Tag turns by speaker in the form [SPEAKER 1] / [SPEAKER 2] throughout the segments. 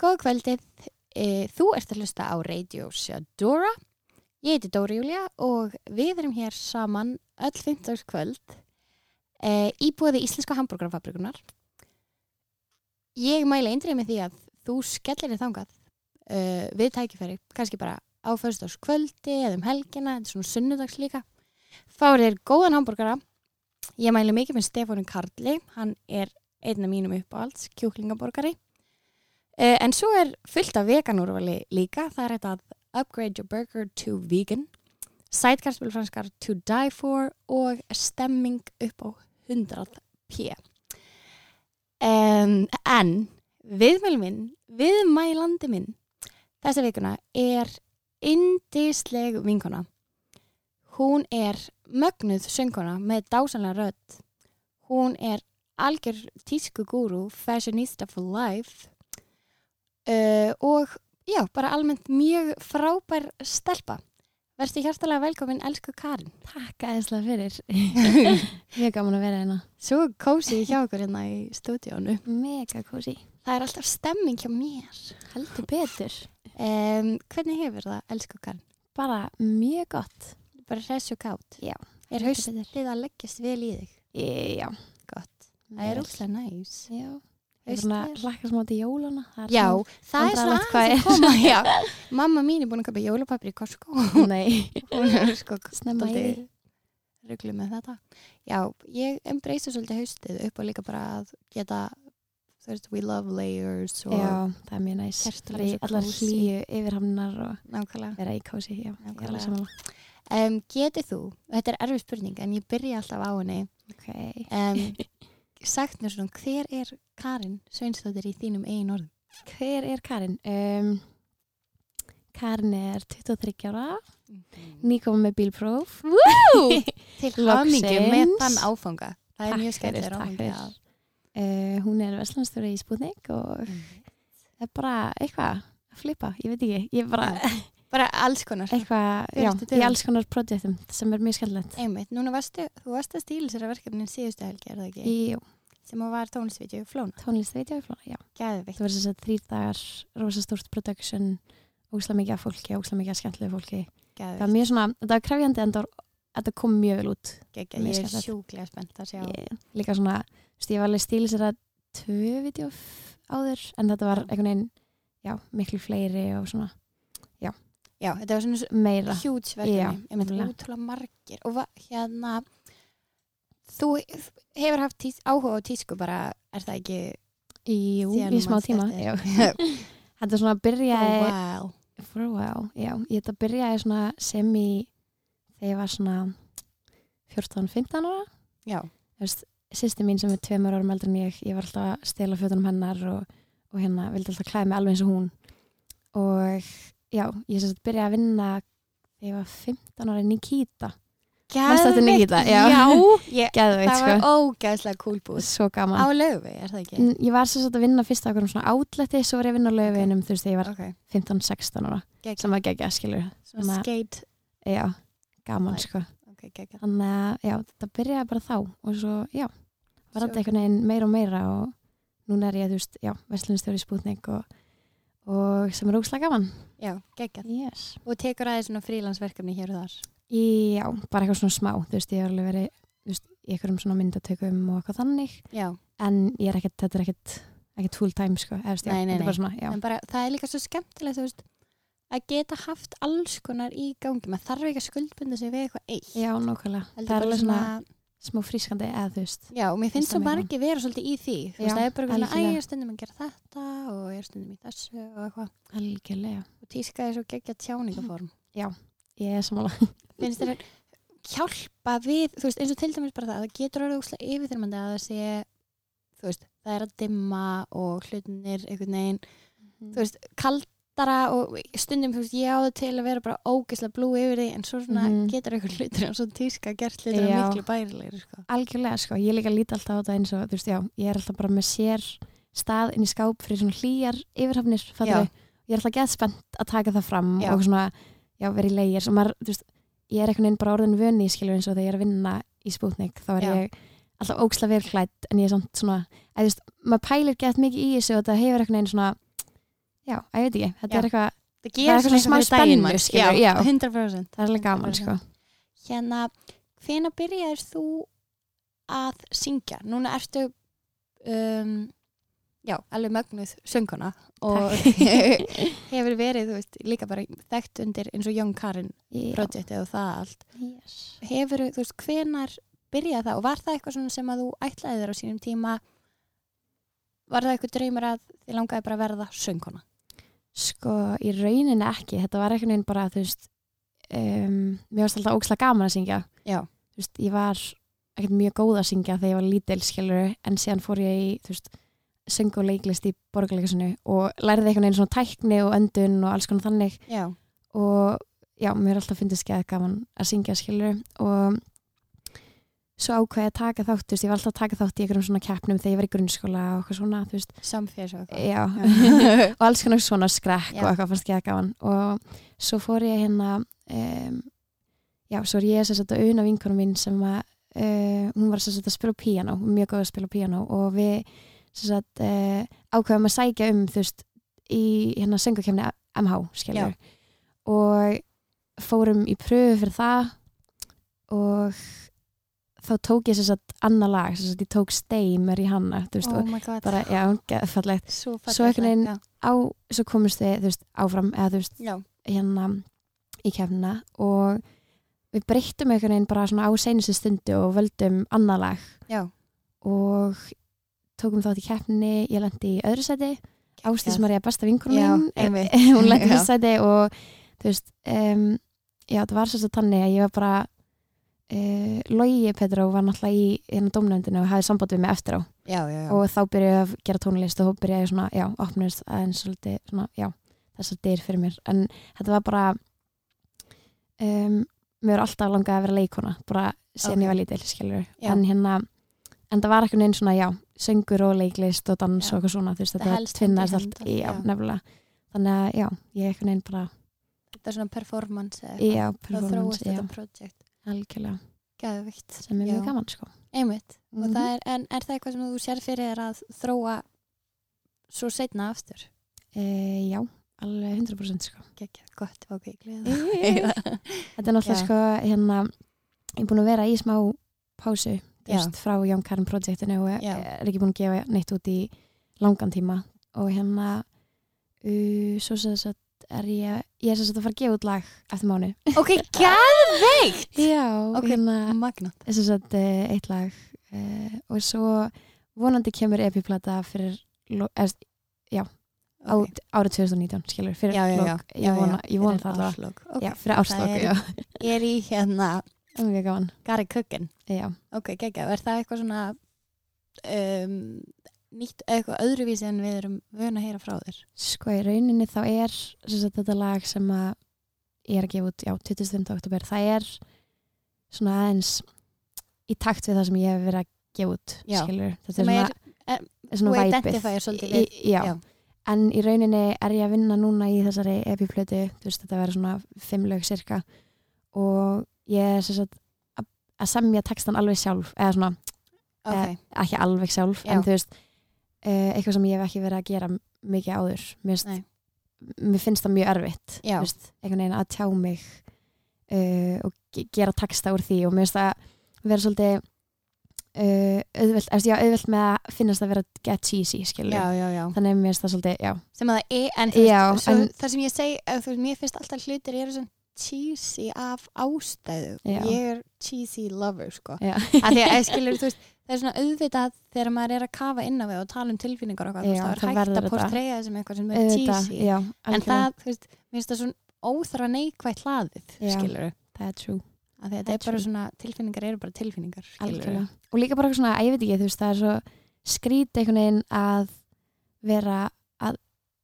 [SPEAKER 1] Góða kvöldið. Eh, Þú ert að hlusta á Radio Shadora. Ég heiti Dóri Júlia og við erum hér saman öll 15. kvöld í búiði Íslenska hambúrgarfabrikunar. Ég mæla eindrið með því að þú skellir þér þangað eh, við tækifæri, kannski bara á föstudags kvöldi eða um helgina, þetta er svona sunnudags líka. Fáir þér góðan hambúrgara. Ég mæla mikið með Stefánin Karli, hann er einn af mínum uppáhalds, kjúklingaborgari. Uh, en svo er fullt af veganúrvali líka. Það er þetta að upgrade your burger to vegan, sætkarspilfranskar to die for og stemming upp á 100p. Um, en viðmæli minn, viðmælandi minn, þessa vikuna er indisleg vinkona. Hún er mögnuð söngkona með dásanlega rödd. Hún er algjör tísku gúru, fashionista for life uh, og já, bara almennt mjög frábær stelpa. Verstu hjartalega velkomin, elsku Karin.
[SPEAKER 2] Takk aðeinslega fyrir. Mjög gaman að vera hérna.
[SPEAKER 1] Svo kósið hjá okkur hérna í stúdíónu.
[SPEAKER 2] Mega kósi.
[SPEAKER 1] Það er alltaf stemming hjá mér.
[SPEAKER 2] Heldur betur.
[SPEAKER 1] Um, hvernig hefur það, elsku Karin?
[SPEAKER 2] Bara mjög gott.
[SPEAKER 1] Bara hressu kátt.
[SPEAKER 2] Já,
[SPEAKER 1] Er
[SPEAKER 2] heldur
[SPEAKER 1] haustið að leggjast vel í þig?
[SPEAKER 2] E, já.
[SPEAKER 1] Gott. Það er
[SPEAKER 2] Vel.
[SPEAKER 1] úrslega næs.
[SPEAKER 2] Já. Ég er
[SPEAKER 1] Haustið
[SPEAKER 2] svona
[SPEAKER 1] er-
[SPEAKER 2] hlakka smá til jólana. Það er
[SPEAKER 1] Já, það er svona
[SPEAKER 2] vandræðalegt hvað
[SPEAKER 1] aðeins að koma.
[SPEAKER 2] er.
[SPEAKER 1] Já. Mamma mín er búin að köpa jólapapir í Costco.
[SPEAKER 2] Svona, nei.
[SPEAKER 1] Hún er sko
[SPEAKER 2] Snemma í því.
[SPEAKER 1] rugglu með þetta. Já, ég embracea svolítið haustið upp og líka bara að geta, þú veist, we love layers og
[SPEAKER 2] Já, það er mjög næs.
[SPEAKER 1] Kertaljós
[SPEAKER 2] Bara í
[SPEAKER 1] og
[SPEAKER 2] allar
[SPEAKER 1] kósí.
[SPEAKER 2] hlýju yfirhamnar og
[SPEAKER 1] nákvæmlega.
[SPEAKER 2] vera í kósi. Já, ég er
[SPEAKER 1] Nákvæmlega.
[SPEAKER 2] alveg samanlega.
[SPEAKER 1] Um, getið þú, þetta er erfið spurning en ég byrja alltaf á henni,
[SPEAKER 2] Ok.
[SPEAKER 1] um, sagt mér svona, hver er Karin Sveinsdóttir í þínum eigin orðum?
[SPEAKER 2] Hver er Karin? Um, Karin er 23 ára. Nýkomum með bílpróf.
[SPEAKER 1] Woo! Til hamingju með
[SPEAKER 2] Loksins.
[SPEAKER 1] þann áfanga. Það er mjög
[SPEAKER 2] Takk fyrir,
[SPEAKER 1] skemmtilega
[SPEAKER 2] takk
[SPEAKER 1] áfanga.
[SPEAKER 2] fyrir. Uh, hún er verslunarstjóri í Sputnik og
[SPEAKER 1] Mm.
[SPEAKER 2] það er bara eitthvað að flippa, ég veit ekki, ég er bara
[SPEAKER 1] Bara alls konar.
[SPEAKER 2] eitthvað, já,
[SPEAKER 1] Fyrstu
[SPEAKER 2] í
[SPEAKER 1] dögum.
[SPEAKER 2] alls konar projektum sem er mjög skemmtilegt.
[SPEAKER 1] Einmitt, núna varstu, þú varst að stíla sér að verkefnin síðustu helgi, er það ekki?
[SPEAKER 2] Í jú,
[SPEAKER 1] Sem að var tónlistvítju Flóna.
[SPEAKER 2] tónlist veit ég alveg, já.
[SPEAKER 1] Gæðvikt.
[SPEAKER 2] Það verður þess að þrýr dagar, rosa stórt production, óslega mikið af fólki, óslega mikið af skemmtilegu fólki. Það var
[SPEAKER 1] Gæðvikt.
[SPEAKER 2] mjög svona, þetta var krefjandi en það var- þetta kom mjög vel út.
[SPEAKER 1] Gekka, ég
[SPEAKER 2] mjög
[SPEAKER 1] er
[SPEAKER 2] skemmtilegt.
[SPEAKER 1] sjúklega spennt að sjá.
[SPEAKER 2] Ég, líka svona, þú veist, ég var alveg stílis þetta tvö vídeo áður, en þetta var einhvern veginn, já, miklu fleiri og svona
[SPEAKER 1] Já, þetta var svona
[SPEAKER 2] meira.
[SPEAKER 1] hjúts
[SPEAKER 2] Já,
[SPEAKER 1] verkefni. Ég myndi
[SPEAKER 2] nefnilega.
[SPEAKER 1] útrúlega margir. Og va- hérna, þú hefur haft tís, áhuga á tísku bara, er það ekki?
[SPEAKER 2] Í, jú,
[SPEAKER 1] Síðan
[SPEAKER 2] í
[SPEAKER 1] þú
[SPEAKER 2] smá
[SPEAKER 1] manst
[SPEAKER 2] tíma,
[SPEAKER 1] eftir
[SPEAKER 2] já.
[SPEAKER 1] þessu.
[SPEAKER 2] Þetta svona byrjaði,
[SPEAKER 1] wow.
[SPEAKER 2] for a while, já. Ég þetta byrjaði svona sem í þegar ég var svona 14-15 ára.
[SPEAKER 1] Já,
[SPEAKER 2] Þú veist, sýsti mín sem er tveimur árum eldur en ég, ég var alltaf að stela fötunum hennar og, og hérna vildi alltaf klæða mig alveg eins og hún. Og já, ég sérst byrjaði að vinna þegar ég var 15 ára í Nikita. Manstu
[SPEAKER 1] Geðveikt,
[SPEAKER 2] eftir Nikita, já.
[SPEAKER 1] ég,
[SPEAKER 2] Geðveit,
[SPEAKER 1] það var
[SPEAKER 2] sko.
[SPEAKER 1] ógæðslega cool búið.
[SPEAKER 2] Svo gaman.
[SPEAKER 1] Á löfi, er það ekki?
[SPEAKER 2] N- Ég var sérst að vinna fyrst á okkur um svona átletti, svo var ég að vinna á löfinum, þú veist, þegar ég var
[SPEAKER 1] Ok,
[SPEAKER 2] 15-16 ára.
[SPEAKER 1] geggjum.
[SPEAKER 2] Sem að gegja, skilur.
[SPEAKER 1] Svona skate.
[SPEAKER 2] Já, gaman,
[SPEAKER 1] Nice.
[SPEAKER 2] sko.
[SPEAKER 1] Ok, geggjum.
[SPEAKER 2] þannig að já, þetta byrjaði bara þá og svo, já, var
[SPEAKER 1] Svo-
[SPEAKER 2] þetta einhvern veginn meira og meira og núna er ég, þú veist, já, verslinstjóri spútning og, og sem er ógslag gaman
[SPEAKER 1] Já, geggjum.
[SPEAKER 2] yes.
[SPEAKER 1] Og tekur aðeins svona frílansverkefni hér og þar.
[SPEAKER 2] já, bara eitthvað svona smá, þú veist, ég hef alveg verið þú veist, í einhverjum svona myndatökum og eitthvað þannig,
[SPEAKER 1] Já,
[SPEAKER 2] en ég er ekkert þetta er ekkert, ekkert full time, sko eða, þú veist, já,
[SPEAKER 1] Nei, nei,
[SPEAKER 2] þetta
[SPEAKER 1] nei.
[SPEAKER 2] er bara svona, já,
[SPEAKER 1] en bara það er líka svo skemmtilegt, þú veist, að geta haft alls konar í gangi. Maður þarf ekki að skuldbunda sig við eitthvað eitt.
[SPEAKER 2] já, nákvæmlega
[SPEAKER 1] Heldur
[SPEAKER 2] það er
[SPEAKER 1] bara
[SPEAKER 2] alveg svona smá frískandi, eða þú veist
[SPEAKER 1] Já, og mér finnst
[SPEAKER 2] Finnst
[SPEAKER 1] svo
[SPEAKER 2] það meira.
[SPEAKER 1] margir vera svolítið í því. Þú
[SPEAKER 2] Já,
[SPEAKER 1] veist, það er bara svona, æ,
[SPEAKER 2] algjörlega.
[SPEAKER 1] ég er stundum að gera þetta og ég er stundum í þessu og eitthvað.
[SPEAKER 2] algjörlega,
[SPEAKER 1] Og tíska er svo geggja tjáningaform.
[SPEAKER 2] ég er samanlega
[SPEAKER 1] finnst þér að hjálpa við, þú veist, eins og til dæmis bara það, að það getur orðið úkslega yfirþyrmandi að það sé, þú veist, það er að dimma og hlutinir einhvern veginn þú veist, kaldara og stundum, þú veist, ég áður til að vera bara ógeðslega blú yfir því en svo svona
[SPEAKER 2] Mhm.
[SPEAKER 1] getur eitthvað hlutur og svo tíska gert hlutur
[SPEAKER 2] Já.
[SPEAKER 1] miklu bærilegir, sko.
[SPEAKER 2] algjörlega sko, ég líka líti alltaf á þetta eins og þú veist, já, ég er alltaf bara með sér stað inn í skáp fyrir svona hlýjar yfirhafnir, fattur við, ég er alltaf gett spennt að taka það fram
[SPEAKER 1] Já.
[SPEAKER 2] og svona já, verið leigir, og maður, þú veist ég er einhvern veginn bara orðin vöni í skilur eins og þegar ég er að vinna í spútnik, þá er
[SPEAKER 1] Já.
[SPEAKER 2] ég alltaf óksla verklætt, en ég er samt svona eða þú veist, maður pælir gett mikið í þessu og þetta hefur einhvern veginn svona já, að ég veit ekki, þetta
[SPEAKER 1] Já.
[SPEAKER 2] er eitthvað
[SPEAKER 1] Það
[SPEAKER 2] er
[SPEAKER 1] gerir
[SPEAKER 2] eitthvað
[SPEAKER 1] svona
[SPEAKER 2] smá
[SPEAKER 1] eitthvað fyrir daginn,
[SPEAKER 2] spennu,
[SPEAKER 1] mann.
[SPEAKER 2] skilur,
[SPEAKER 1] Já,
[SPEAKER 2] já.
[SPEAKER 1] 100%.
[SPEAKER 2] það er alveg gaman, sko
[SPEAKER 1] Hérna, hvena byrjaðir þú að syngja? Núna ertu, um, já, alveg mögnuð sönguna og hefur verið, þú veist, líka bara þekkt undir eins og Young Karin
[SPEAKER 2] Já,
[SPEAKER 1] projektið og það allt.
[SPEAKER 2] yes.
[SPEAKER 1] Hefur, þú veist, hvenar byrjaði það og var það eitthvað svona sem að þú ætlaði þér á sínum tíma? Var það eitthvað draumur að þið langaði bara að verða sönguna?
[SPEAKER 2] Sko, í rauninni ekki. Þetta var einhvern veginn bara, þú veist, um, mér varst alltaf ókslega gaman að syngja.
[SPEAKER 1] Já.
[SPEAKER 2] Þú veist, ég var ekkert mjög góð að syngja þegar ég var lítil, skilur, en síðan fór ég í, þú veist, söng og leiklist í borgarleikasinu og lærði einhvern veginn svona tækni og öndun og alls konar þannig
[SPEAKER 1] Já,
[SPEAKER 2] og já, mér er alltaf fyndist ekki að gaman að syngja, skilur, og svo ákveði að taka þátt, þú veist, ég var alltaf að taka þátt í einhverjum svona keppnum þegar ég var í grunnskóla og eitthvað svona, þú veist,
[SPEAKER 1] samférs og eitthvað.
[SPEAKER 2] já,
[SPEAKER 1] Já.
[SPEAKER 2] og alls konar svona skrekk
[SPEAKER 1] Já.
[SPEAKER 2] og eitthvað fannst ekki að gaman og svo fór ég hérna um, já, svo er ég þess að auðna vinkunum mín sem að uh, hún var þess að spila á píanó, mjög góð að spila á píanó og við þess að uh, ákveðum að sækja um þú veist í hérna söngukefni MH skilur og fórum í pröfu fyrir það og þá tók ég þess að annað lag, þess að ég tók Steimer í hanna, þú veist,
[SPEAKER 1] oh
[SPEAKER 2] og
[SPEAKER 1] my god.
[SPEAKER 2] bara, já, geðfallegt
[SPEAKER 1] svo
[SPEAKER 2] Svo einhvern veginn- á, svo komumst við, þú veist, áfram eða þú veist,
[SPEAKER 1] já,
[SPEAKER 2] hérna í kefnina og við breyttum einhvern veginn bara svona á seinustu stundu og völdum annað lag
[SPEAKER 1] já,
[SPEAKER 2] og tókum þátt í keppni, ég lendi í öðru sæti Ástis
[SPEAKER 1] Geggjað.
[SPEAKER 2] Maria besta vinkur
[SPEAKER 1] Já,
[SPEAKER 2] mín
[SPEAKER 1] einmitt.
[SPEAKER 2] eh, hún lendi í
[SPEAKER 1] Já.
[SPEAKER 2] fyrsta sæti og þú veist um, já, það var svolítið þannig að ég var bara uh, Logi Petró var náttúrulega í hérna dómnefndinu og hafði samband við mig eftir á
[SPEAKER 1] já, já, já.
[SPEAKER 2] og þá byrjaði ég að gera tónlist og þá byrjaði ég svona, já, opnust aðeins svolítið, svona, já, þessar dyr fyrir mér en þetta var bara um, mér var alltaf langað að vera leikona, bara síðan
[SPEAKER 1] Ok.
[SPEAKER 2] ég var lítil skilur,
[SPEAKER 1] Já.
[SPEAKER 2] en hérna en það var eitthvað einn svona, já, söngur og leiklist og dans
[SPEAKER 1] Já.
[SPEAKER 2] og eitthvað svona, þú veist,
[SPEAKER 1] Það
[SPEAKER 2] þetta var
[SPEAKER 1] helst
[SPEAKER 2] tvinnast
[SPEAKER 1] hendur í
[SPEAKER 2] allt,
[SPEAKER 1] hendur,
[SPEAKER 2] já,
[SPEAKER 1] já.
[SPEAKER 2] nefnilega þannig að, já, ég eitthvað einn bara
[SPEAKER 1] þetta er svona performance eða eitthvað.
[SPEAKER 2] já,
[SPEAKER 1] þá þróast
[SPEAKER 2] performance, já,
[SPEAKER 1] þetta projekt
[SPEAKER 2] algjörlega
[SPEAKER 1] gæðvikt,
[SPEAKER 2] sem er
[SPEAKER 1] Já.
[SPEAKER 2] mjög gaman, sko
[SPEAKER 1] einmitt og
[SPEAKER 2] Mhm.
[SPEAKER 1] það er, en er það eitthvað sem þú sér fyrir þér að þróa svo setna aftur
[SPEAKER 2] e, já, alveg 100% sko
[SPEAKER 1] Gekja, gott, ok,
[SPEAKER 2] Já.
[SPEAKER 1] gleða
[SPEAKER 2] Þetta er náttúrulega
[SPEAKER 1] Já.
[SPEAKER 2] sko hérna, ég er búin að vera í smá pásu þú
[SPEAKER 1] Já.
[SPEAKER 2] veist, frá Young Karen projektinu og
[SPEAKER 1] Já.
[SPEAKER 2] er ekki búin að gefa neitt út í langan tíma og hérna uh, svo sem sagt er ég ég er sem sagt að fara að gefa út lag eftir mánu
[SPEAKER 1] ok, gæðvikt
[SPEAKER 2] Já,
[SPEAKER 1] Ok.
[SPEAKER 2] hérna
[SPEAKER 1] magnat,
[SPEAKER 2] sem sagt uh, eitt lag uh, og svo vonandi kemur epiplata fyrir lo- eða,
[SPEAKER 1] ok
[SPEAKER 2] á, árið 2019 skilur, fyrir
[SPEAKER 1] Já, já, já.
[SPEAKER 2] lok, ég vona, ég vona það allavega
[SPEAKER 1] allavega
[SPEAKER 2] Já, fyrir árslok,
[SPEAKER 1] er-
[SPEAKER 2] já,
[SPEAKER 1] ég er í hérna
[SPEAKER 2] mjög gaman
[SPEAKER 1] Gary Cookin,
[SPEAKER 2] já.
[SPEAKER 1] ok, gegja, er það eitthvað svona um, nýtt, eitthvað öðruvísi en við erum vön að heyra frá þér
[SPEAKER 2] Sko í rauninni þá er sem sagt, þetta lag sem að ég er að gefa út, já, 25. oktober það er svona aðeins í takt við það sem ég hef verið að gefa út,
[SPEAKER 1] Já.
[SPEAKER 2] skilur þetta
[SPEAKER 1] sem
[SPEAKER 2] er
[SPEAKER 1] er, eh,
[SPEAKER 2] svona, er svona
[SPEAKER 1] þú
[SPEAKER 2] væpið
[SPEAKER 1] identifyir svolítið
[SPEAKER 2] Í- já.
[SPEAKER 1] já.
[SPEAKER 2] en í rauninni er ég að vinna núna í þessari epiplötu, þú veist þetta verður svona fimm lög cirka og ég er sem sagt að, að semja textan alveg sjálf, eða svona
[SPEAKER 1] ok,
[SPEAKER 2] ekki alveg sjálf,
[SPEAKER 1] Já.
[SPEAKER 2] en þú veist uh, eitthvað sem ég hef ekki verið að gera m- mikið áður,
[SPEAKER 1] Nei.
[SPEAKER 2] mér finnst, mér finnst það mjög erfitt
[SPEAKER 1] já,
[SPEAKER 2] þú veist, einhvern veginn að tjá mig uh, og ge- gera taksta úr því og mér finnst það vera svolítið uh, auðvelt, eftir, já, auðvelt með að finnast að vera get cheesy, skilur
[SPEAKER 1] já, já, já.
[SPEAKER 2] þannig að mér finnst það svolítið, já,
[SPEAKER 1] sem að það er, en, þú veist,
[SPEAKER 2] Já,
[SPEAKER 1] svo,
[SPEAKER 2] en-
[SPEAKER 1] það sem ég segi, eða þú veist, mér finnst alltaf hlutir eru svona cheesy af ástæðu
[SPEAKER 2] Já.
[SPEAKER 1] ég er cheesy lover, sko
[SPEAKER 2] já,
[SPEAKER 1] að því að eða skilur, þú veist, það er svona auðvitað þegar maður er að kafa inn á við og tala um tilfinningar og eitthvað, þú
[SPEAKER 2] Já,
[SPEAKER 1] veist,
[SPEAKER 2] það
[SPEAKER 1] það er hægt
[SPEAKER 2] verður
[SPEAKER 1] að
[SPEAKER 2] þetta.
[SPEAKER 1] portreyja það sem eitthvað sem er
[SPEAKER 2] auðvitað,
[SPEAKER 1] cheesy
[SPEAKER 2] já
[SPEAKER 1] en
[SPEAKER 2] algjörlega.
[SPEAKER 1] það, þú veist, mér finnst það svona óþra neikvætt hlaðið,
[SPEAKER 2] Já.
[SPEAKER 1] skilur
[SPEAKER 2] það er true,
[SPEAKER 1] að því að þetta er
[SPEAKER 2] That's
[SPEAKER 1] bara
[SPEAKER 2] true.
[SPEAKER 1] svona, tilfinningar eru bara tilfinningar, skilur
[SPEAKER 2] algjörlega og líka bara eitthvað svona, að ég veit ekki, þú veist, það er svo skrítið einhvern veginn að vera að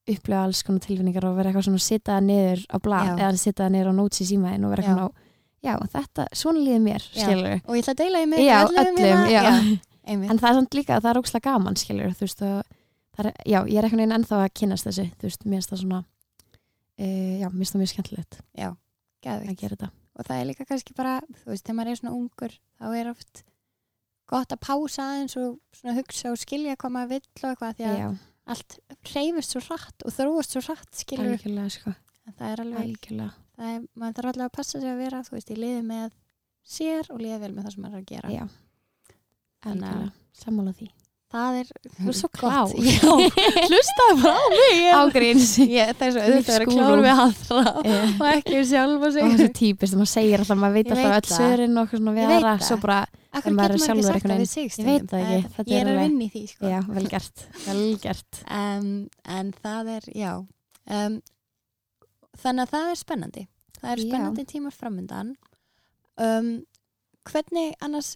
[SPEAKER 2] upplifa alls konar tilfinningar og vera eitthvað svona sitað niður á blad,
[SPEAKER 1] Já.
[SPEAKER 2] eða sitað niður á notes í símaðin og vera eitthvað
[SPEAKER 1] Já.
[SPEAKER 2] svona, já, þetta, svona líður mér,
[SPEAKER 1] Já.
[SPEAKER 2] skilur
[SPEAKER 1] og ég ætla að deila því með
[SPEAKER 2] já,
[SPEAKER 1] ykkur öllum
[SPEAKER 2] öllum,
[SPEAKER 1] hérna.
[SPEAKER 2] já.
[SPEAKER 1] einmitt.
[SPEAKER 2] en það er samt líka, það er ógslag gaman skilur, þú veist og, það er, já, ég er einhvern veginn ennþá að kynast þessu þú veist, mér finnst það svona e, já, mér finnst það mjög skemmtilegt
[SPEAKER 1] Geðveikt.
[SPEAKER 2] að gera þetta
[SPEAKER 1] og það er líka kannski bara þú veist, þegar maður er svona ungur þá er oft gott að pása aðeins og svona hugsa og skilja hvað maður vill og eitthvað því að
[SPEAKER 2] já,
[SPEAKER 1] allt reyfist svo hratt og þróast svo hratt skilur
[SPEAKER 2] algjörlega sko,
[SPEAKER 1] en það er alveg,
[SPEAKER 2] algjörlega
[SPEAKER 1] það er, maður þarf allavega að passa sig að vera, þú veist, í liði með sér og liði vel með það sem maður er að gera
[SPEAKER 2] já,
[SPEAKER 1] Þannig að-
[SPEAKER 2] algjörlega, sammála því
[SPEAKER 1] það er, þú er svo
[SPEAKER 2] Klár.
[SPEAKER 1] gott já, hlustaðu bara á mig ég,
[SPEAKER 2] ágríns
[SPEAKER 1] ég, það er svo auðvitað að vera
[SPEAKER 2] Lífsgúrú.
[SPEAKER 1] klár við aðra
[SPEAKER 2] og
[SPEAKER 1] og ekki við sjálfa sig
[SPEAKER 2] það er típist, maður segir alltaf, maður
[SPEAKER 1] Ég
[SPEAKER 2] veit alltaf
[SPEAKER 1] veit
[SPEAKER 2] öll
[SPEAKER 1] það.
[SPEAKER 2] söðurinn og okkur svona
[SPEAKER 1] Ég
[SPEAKER 2] við
[SPEAKER 1] veit
[SPEAKER 2] aðra,
[SPEAKER 1] það.
[SPEAKER 2] svo bara,
[SPEAKER 1] Akkur
[SPEAKER 2] En maður
[SPEAKER 1] getur
[SPEAKER 2] er
[SPEAKER 1] maður ekki
[SPEAKER 2] sjálfur
[SPEAKER 1] sagt það
[SPEAKER 2] einhvern veginn-
[SPEAKER 1] við sig
[SPEAKER 2] Ég veit
[SPEAKER 1] stundum.
[SPEAKER 2] það ekki, þetta
[SPEAKER 1] Ég er
[SPEAKER 2] er
[SPEAKER 1] að
[SPEAKER 2] alveg-
[SPEAKER 1] vinna í því sko.
[SPEAKER 2] já, vel gert vel gert,
[SPEAKER 1] um, en það er, já um, þannig að það er spennandi það er
[SPEAKER 2] Já.
[SPEAKER 1] spennandi tímar framundan um, hvernig annars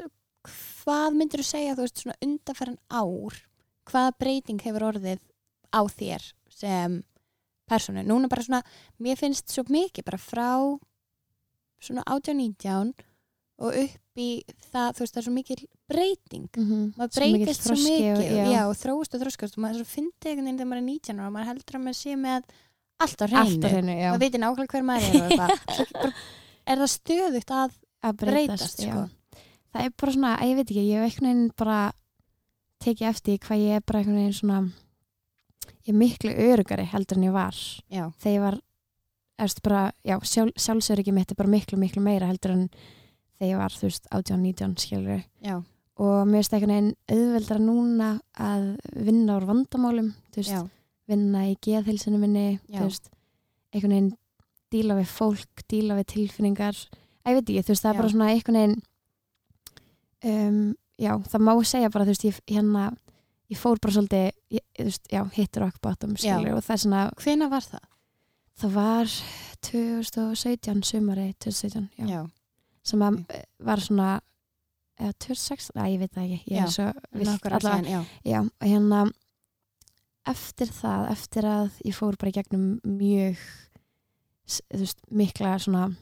[SPEAKER 1] hvað myndir þú segja þú veist svona undanferðan ár hvaða breyting hefur orðið á þér sem persónu núna bara svona, mér finnst svo mikið bara frá svona 18-19 og upp í það, þú veist, það er svo mikil breyting
[SPEAKER 2] Mhm.
[SPEAKER 1] maður
[SPEAKER 2] Svo mikill
[SPEAKER 1] breytist svo
[SPEAKER 2] þroski
[SPEAKER 1] mikið
[SPEAKER 2] og-
[SPEAKER 1] já.
[SPEAKER 2] já.
[SPEAKER 1] og þróist og þroskast og maður finnst einhvern veginn þegar maður er 19 ára og maður heldur að maður sé með allt á
[SPEAKER 2] allt
[SPEAKER 1] hreinu
[SPEAKER 2] á hreinu, já
[SPEAKER 1] maður veitir nákvæmlega hver maður er og eitthvað Svo bara er það stöðugt að
[SPEAKER 2] að
[SPEAKER 1] breytast sko.
[SPEAKER 2] já. það er bara svona, að ég veit ekki, ég hef einhvern veginn bara tekið eftir því hvað ég er bara einhvern veginn svona ég er miklu örugari heldur en ég var
[SPEAKER 1] já,
[SPEAKER 2] þegar ég var erst bara, já, sjálf, sjálfsöryggi mitt er bara miklu, miklu meira heldur en þegar ég var, þú veist, 18-19 skilur
[SPEAKER 1] já,
[SPEAKER 2] og mér finnst einhvern veginn auðveldra núna að vinna úr vandamálum þú veist,
[SPEAKER 1] já,
[SPEAKER 2] vinna í geðhilsinu minni
[SPEAKER 1] Já.
[SPEAKER 2] þú veist, einhvern veginn díla við fólk, díla við tilfinningar Æ, ég veit ekki, þú veist, það
[SPEAKER 1] Já.
[SPEAKER 2] er bara svona einhvern veginn um, já, það má segja bara, þú veist, ég, hérna ég fór bara svolítið, ég, þú veist, já, hittur okkur bátum,
[SPEAKER 1] Já.
[SPEAKER 2] skilur, og það er svona
[SPEAKER 1] hvena var það?
[SPEAKER 2] það var 2017, sumari 2017, já, sem að
[SPEAKER 1] Ok.
[SPEAKER 2] eh, var svona eða 2016, að ég veit það ekki ég
[SPEAKER 1] Já.
[SPEAKER 2] er svo vilt,
[SPEAKER 1] nokkur
[SPEAKER 2] allavega
[SPEAKER 1] allan, já,
[SPEAKER 2] Já, og hérna eftir það, eftir að ég fór bara í gegnum mjög s- þú veist, mikla svona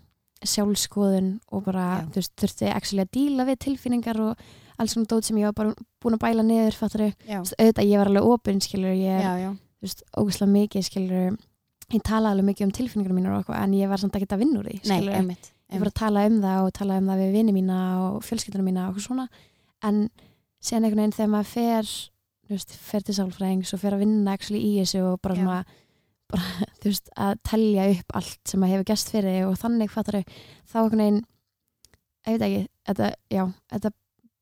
[SPEAKER 2] sjálfskoðun og bara
[SPEAKER 1] Já.
[SPEAKER 2] þú veist, þurfti actually að díla við tilfinningar og alls svona dót sem ég var bara búin að bæla niður fattari,
[SPEAKER 1] já,
[SPEAKER 2] auðvitað ég var alveg opinn skilur, ég er,
[SPEAKER 1] já, já,
[SPEAKER 2] þú veist, ógustlega mikið skilur, ég talaði alveg mikið um tilfinningar mínur og okkur, en ég var samt ekki að vinna úr því
[SPEAKER 1] nei,
[SPEAKER 2] skilurðu
[SPEAKER 1] einmitt
[SPEAKER 2] ég var að tala um það og tala um það við vini mína og fjölskylduna mína og okkur svona en síðan einhvern veginn þegar maður fer þú veist, fer til sálfræðings og fer að vinna actually í þessu og bara
[SPEAKER 1] Já.
[SPEAKER 2] svona bara, þú veist, að telja upp allt sem maður hefur gæst fyrir þig og þannig fattar þau þá einhvern veginn, ég veit ekki þetta, já, þetta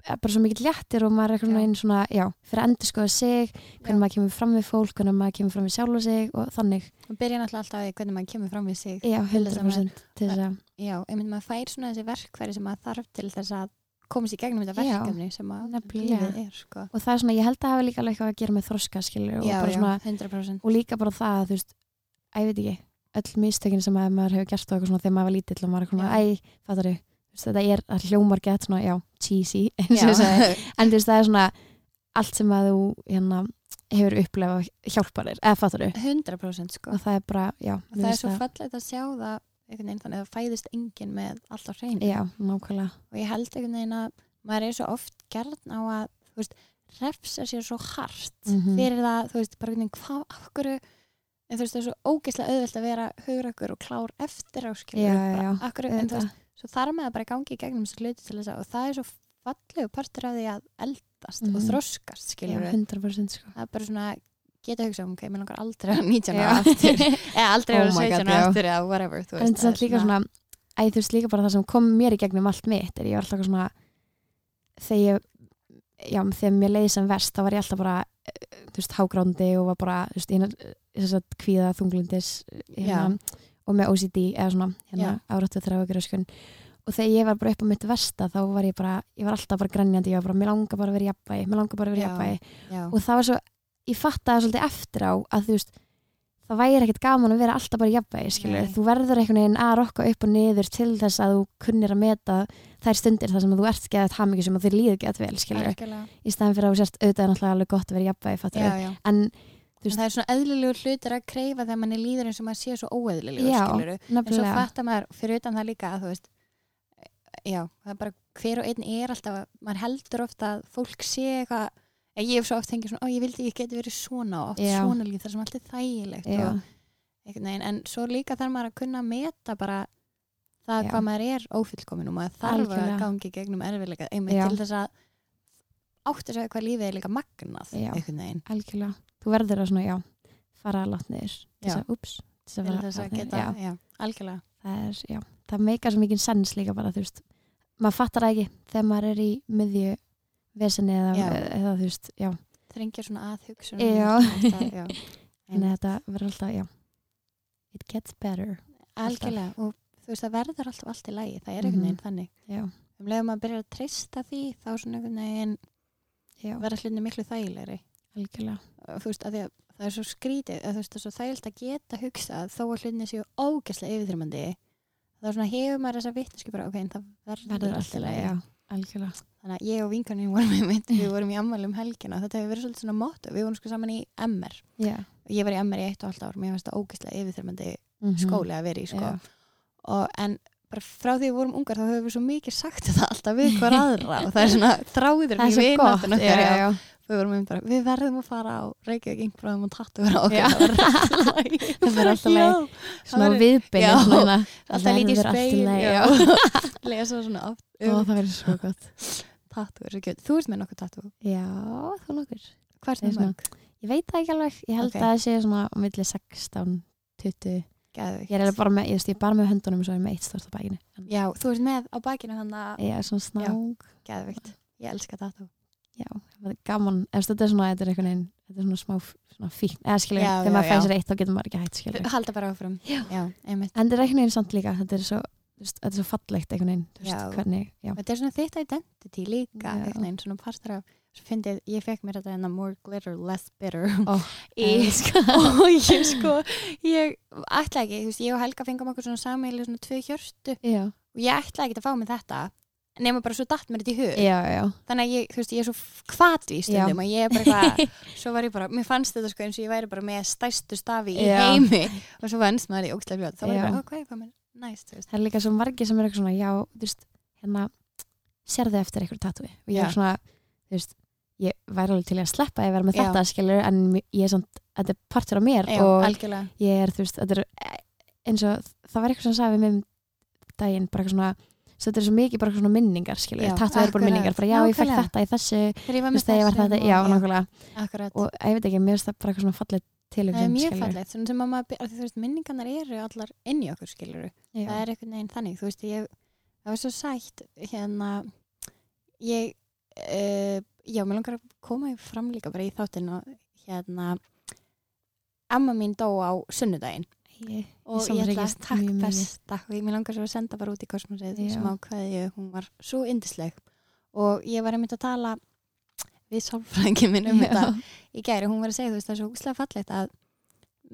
[SPEAKER 2] er bara svo mikið léttir og maður er einhvern
[SPEAKER 1] Já.
[SPEAKER 2] veginn svona, já, fyrir að endur skoða sig hvernig
[SPEAKER 1] Já.
[SPEAKER 2] maður kemur fram við fólk, hvernig maður kemur fram við sjálfa sig og þannig,
[SPEAKER 1] og byrja náttúrulega alltaf að hvernig maður kemur fram við sig
[SPEAKER 2] já,
[SPEAKER 1] Til þess að maður-
[SPEAKER 2] 100% til þess að,
[SPEAKER 1] já, einmitt maður fær svona þessi verkfæri sem maður þarf til þess að koma sér í gegnum þetta
[SPEAKER 2] Já,
[SPEAKER 1] verkefni sem að
[SPEAKER 2] nefnilega.
[SPEAKER 1] lífið er sko.
[SPEAKER 2] og það er svona, ég held að hafa líka alveg eitthvað að gera með þroska skilur og
[SPEAKER 1] já,
[SPEAKER 2] bara
[SPEAKER 1] já,
[SPEAKER 2] svona
[SPEAKER 1] 100%
[SPEAKER 2] og líka bara það að þú veist, að ég veit ekki öll mistökin sem að maður hefur gert og eitthvað svona þegar maður var lítill og maður er svona,
[SPEAKER 1] Já.
[SPEAKER 2] æ, fattar þú veist, þetta er að hljómar gett svona, já, cheesy eins og ég sagði,
[SPEAKER 1] Já.
[SPEAKER 2] en þú veist, það er svona allt sem að þú, hérna hefur upplefað hjálpar þér, eða fattar
[SPEAKER 1] 100% sko
[SPEAKER 2] og það er bara, já,
[SPEAKER 1] og það er svo fallegt að sjá það einhvern veginn þannig að það fæðist enginn með allt á hreinu
[SPEAKER 2] já, nákvæmlega,
[SPEAKER 1] og ég held einhvern veginn að maður er svo oft gern á að þú veist, refsa sér svo hart
[SPEAKER 2] Mhm.
[SPEAKER 1] fyrir það, þú veist, bara einhvern veginn hvað, af hverju en þú veist, það er svo ógeðslega auðvelt að vera hugur okkur og klár eftir áskilur
[SPEAKER 2] Já, já, já,
[SPEAKER 1] en þú
[SPEAKER 2] Auðvitað.
[SPEAKER 1] veist, svo þarf maður bara að gangi í gegnum þessu hluti til þess að og það er svo fallegu partur af því að eldast og
[SPEAKER 2] Mhm.
[SPEAKER 1] þroskast
[SPEAKER 2] já,
[SPEAKER 1] skilur
[SPEAKER 2] 100% sko
[SPEAKER 1] það er bara svona geta að hugsa um, ok, mér langar aldrei að 19
[SPEAKER 2] Já.
[SPEAKER 1] ára aftur eða aldrei
[SPEAKER 2] Oh
[SPEAKER 1] að vera
[SPEAKER 2] my
[SPEAKER 1] 17 ára
[SPEAKER 2] God, já.
[SPEAKER 1] aftur eða whatever þú
[SPEAKER 2] en
[SPEAKER 1] það
[SPEAKER 2] það
[SPEAKER 1] er
[SPEAKER 2] er líka svona, æ, þú veist líka bara það sem kom mér í gegnum allt mitt er ég var alltaf eitthvað svona þegar ég, já, þegar mér leiði sem verst þá var ég alltaf bara, eh, þú veist, hágrándi og var bara, þú veist, hérna, þess að kvíða þunglindis hérna, og með OCD eða svona, hérna, áráttu þrjá ykkur öskun og þegar ég var bara upp á mitt versta þá var ég bara, ég var alltaf bara grænjandi ég var bara, mér langar bara að vera í jafnvægi, mér langar bara að vera í
[SPEAKER 1] Já.
[SPEAKER 2] jafnvægi
[SPEAKER 1] já,
[SPEAKER 2] og það var svo, ég fattaði svolítið eftir á að þú veist, það væri ekkert gaman að vera alltaf bara í jafnvægi, skilur
[SPEAKER 1] Nei.
[SPEAKER 2] þú verður einhvern veginn að rokka upp og niður til þess að þú kunnir að meta þær stundir þar sem þú ert geðað hamingi sem að þér líður geðað vel, skilur
[SPEAKER 1] algjörlega
[SPEAKER 2] í staðan fyrir að þú sért auðvitað er náttúrulega alveg gott að vera í jafnvægi, fattur
[SPEAKER 1] já, já.
[SPEAKER 2] en
[SPEAKER 1] En það er svona eðlilegu hlutir að kreifa þegar manni líður eins og maður sé svo óeðlilegu
[SPEAKER 2] Já,
[SPEAKER 1] skiluru en svo
[SPEAKER 2] nefnilega,
[SPEAKER 1] fattar maður fyrir utan það líka að þú veist já, það er bara hver og einn er alltaf að- maður heldur ofta að fólk sé eitthvað en ég hef svo oft þengið svona, ó ég vildi ég geti verið svona og oft
[SPEAKER 2] Já.
[SPEAKER 1] svona líka þar sem allt er þægilegt
[SPEAKER 2] já,
[SPEAKER 1] og einhvern veginn, en svo líka þarf maður að kunna að meta bara það
[SPEAKER 2] Já.
[SPEAKER 1] hvað maður er ófyllkomin og maður þarf að
[SPEAKER 2] Algjörlega.
[SPEAKER 1] gangi gegnum erfiðleika einmitt
[SPEAKER 2] Já.
[SPEAKER 1] til þess að átt að segja hvað lífið er líka magnað
[SPEAKER 2] Já.
[SPEAKER 1] einhvern veginn,
[SPEAKER 2] algjörlega þú verður að svona, já, fara að látt niður til
[SPEAKER 1] Já.
[SPEAKER 2] þess að, ups,
[SPEAKER 1] til
[SPEAKER 2] til fara
[SPEAKER 1] þess
[SPEAKER 2] lágt
[SPEAKER 1] að
[SPEAKER 2] niður.
[SPEAKER 1] geta,
[SPEAKER 2] já,
[SPEAKER 1] já, algjörlega
[SPEAKER 2] það er, já, það meikar svo mikið sens líka bara, þú veist, maður fattar það ekki þegar maður er í miðju vesinni eða,
[SPEAKER 1] Já.
[SPEAKER 2] eða þú veist, já,
[SPEAKER 1] þrengja svona að hugsa
[SPEAKER 2] Já.
[SPEAKER 1] já.
[SPEAKER 2] en þetta verður alltaf, já, it gets better,
[SPEAKER 1] algjörlega og þú veist það verður alltaf allt í lagi það er
[SPEAKER 2] Mhm.
[SPEAKER 1] einhvern veginn þannig
[SPEAKER 2] já,
[SPEAKER 1] um leiðum að byrja að treysta því þá svona einhvern veginn
[SPEAKER 2] já,
[SPEAKER 1] verða hlutinni miklu þægilegri
[SPEAKER 2] algjörlega,
[SPEAKER 1] Og þú veist að því að það er svo skrítið að þú veist það er svo þægilegt að geta hugsað þó að hlutinni séu ógæslega yfirþyrmandi þá svona hefur maður þessa vitneski bara ok, en það verður,
[SPEAKER 2] verður allt í lagi, já, algjörlega,
[SPEAKER 1] þannig að ég og vinkarnir vorum í mitt við vorum í ammali um helgina þetta hefur verið svolítið svona mótt við vorum sko saman í MR
[SPEAKER 2] já,
[SPEAKER 1] og ég var í MR í eitt og halvt ár mér finnst það ógæslega yfirþyrmandi
[SPEAKER 2] mm
[SPEAKER 1] skóli að vera í sko og, en bara frá því við vorum ungar þá höfum við svo mikið sagt þetta alltaf við hver aðra og það er svona þráður
[SPEAKER 2] það er svo gott,
[SPEAKER 1] vináttan okkar já.
[SPEAKER 2] já,
[SPEAKER 1] við vorum einmitt bara, við verðum að fara á Reykjavík yngbröðum og tattuður á
[SPEAKER 2] Já.
[SPEAKER 1] okkur það verður allt í lagi.
[SPEAKER 2] Það verður allt í lagi.
[SPEAKER 1] Já,
[SPEAKER 2] svona
[SPEAKER 1] verður-
[SPEAKER 2] viðbyrð
[SPEAKER 1] já,
[SPEAKER 2] svona,
[SPEAKER 1] alltaf lítið
[SPEAKER 2] verður allt í
[SPEAKER 1] speil
[SPEAKER 2] lagi,
[SPEAKER 1] já.
[SPEAKER 2] já.
[SPEAKER 1] lesa svona oft
[SPEAKER 2] Ó,
[SPEAKER 1] um
[SPEAKER 2] það verður svo gott
[SPEAKER 1] tattuður þú ert með nokkuð tattu,
[SPEAKER 2] já, þú nokkur
[SPEAKER 1] hvað er
[SPEAKER 2] Ég er
[SPEAKER 1] það
[SPEAKER 2] svona-
[SPEAKER 1] mörg?
[SPEAKER 2] ég veit það ekki alveg, ég held
[SPEAKER 1] Ok.
[SPEAKER 2] að það sé svona á milli 16, 20 ég er
[SPEAKER 1] Geðvikt.
[SPEAKER 2] eiginlega bara með, ég veist, ég er bara með höndunum svo er ég með eitt stort á bækinu en
[SPEAKER 1] já, þú ert með á bakinu hann að
[SPEAKER 2] ég er svona snák,
[SPEAKER 1] geðvikt ég elska tattu
[SPEAKER 2] já, það er gaman ef þetta er svona, þetta er einhvern veginn þetta er svona smá, f- svona fín, eða skilur
[SPEAKER 1] Já, já,
[SPEAKER 2] þegar maður fæði
[SPEAKER 1] já.
[SPEAKER 2] sér eitt þá getur maður ekki hægt skilur en
[SPEAKER 1] halda bara áfram
[SPEAKER 2] Já.
[SPEAKER 1] einmitt.
[SPEAKER 2] þetta er einhvern veginn samt líka, þetta er svo þú veist, þetta er svo fallegt einhvern veginn, þú veist,
[SPEAKER 1] Já.
[SPEAKER 2] hvernig já,
[SPEAKER 1] þetta er svona þitt identity líka
[SPEAKER 2] Já.
[SPEAKER 1] einhvern veginn, svona partur af svo fyndið, ég fekk mér þetta enna more glitter, less bitter
[SPEAKER 2] Ó,
[SPEAKER 1] í
[SPEAKER 2] elska.
[SPEAKER 1] og ég sko ég ætla ekki, þú veist, ég og Helga fengum okkur svona sammeili svona tvö hjörstu
[SPEAKER 2] já,
[SPEAKER 1] og ég ætla ekki að fá mig þetta nema bara svo datt mér þetta í hug
[SPEAKER 2] já, já
[SPEAKER 1] þannig að ég, þú veist, ég er svo kvatví stundum að ég er bara eitthvað, svo var ég bara mér fannst þetta sko eins og ég væri bara með stæstu stafi í
[SPEAKER 2] Já.
[SPEAKER 1] heimi og svo vannst maður í ógstlega fljótt, þá var
[SPEAKER 2] Já.
[SPEAKER 1] ég bara, ok, hvað mér næst, þú veist,
[SPEAKER 2] það er líka svo margir sem er eitthvað svona já, þú veist, hérna sérðu eftir eitthvað tatúi og ég
[SPEAKER 1] Já.
[SPEAKER 2] er svona, þú veist, ég væri alveg til í að sleppa að vera með
[SPEAKER 1] Já.
[SPEAKER 2] þetta skilur en mér- ég er samt, þetta er partur af mér
[SPEAKER 1] já,
[SPEAKER 2] og
[SPEAKER 1] algjörlega
[SPEAKER 2] ég er, þú veist, þetta er eh, eins og það var eitthvað sem sagði við mig um daginn, bara eitthvað svona svo þetta er svo mikið bara eitthvað svona minningar skilur
[SPEAKER 1] Já,
[SPEAKER 2] tatúi er bara
[SPEAKER 1] akkurat.
[SPEAKER 2] minningar, bara já, ég fekk
[SPEAKER 1] Nákvæmlega.
[SPEAKER 2] þetta í þessu,
[SPEAKER 1] þegar ég
[SPEAKER 2] þú
[SPEAKER 1] var með
[SPEAKER 2] veist, þegar ég var
[SPEAKER 1] þessum
[SPEAKER 2] þetta já,
[SPEAKER 1] og-
[SPEAKER 2] nákvæmlega,
[SPEAKER 1] akkurat,
[SPEAKER 2] og eh, ég veit ekki, mér finnst það bara eitthvað svona falleg tilhugsun,
[SPEAKER 1] það er mjög
[SPEAKER 2] skilurðu.
[SPEAKER 1] fallegt svona sem að maður, af því, þú veist, minningarnar eru allar inn í okkur, skilur
[SPEAKER 2] Já.
[SPEAKER 1] það er einhvern veginn þannig þú veist ég, það var svo sætt hérna ég, uh, já, mér langar að koma því fram líka bara í þáttinn og hérna amma mín dó á sunnudaginn
[SPEAKER 2] Ég-
[SPEAKER 1] og ég, ætla að
[SPEAKER 2] samþykkist
[SPEAKER 1] takk
[SPEAKER 2] mjög mikið.
[SPEAKER 1] besta og ég- mér langar svo að senda bara út í kosmosið
[SPEAKER 2] Já.
[SPEAKER 1] smá kveðju, hún var svo yndisleg og ég var einmitt að tala við sálfræðingin minn um þetta
[SPEAKER 2] Já.
[SPEAKER 1] í gæri, hún var að segja, þú veist, það er svo úslega fallegt að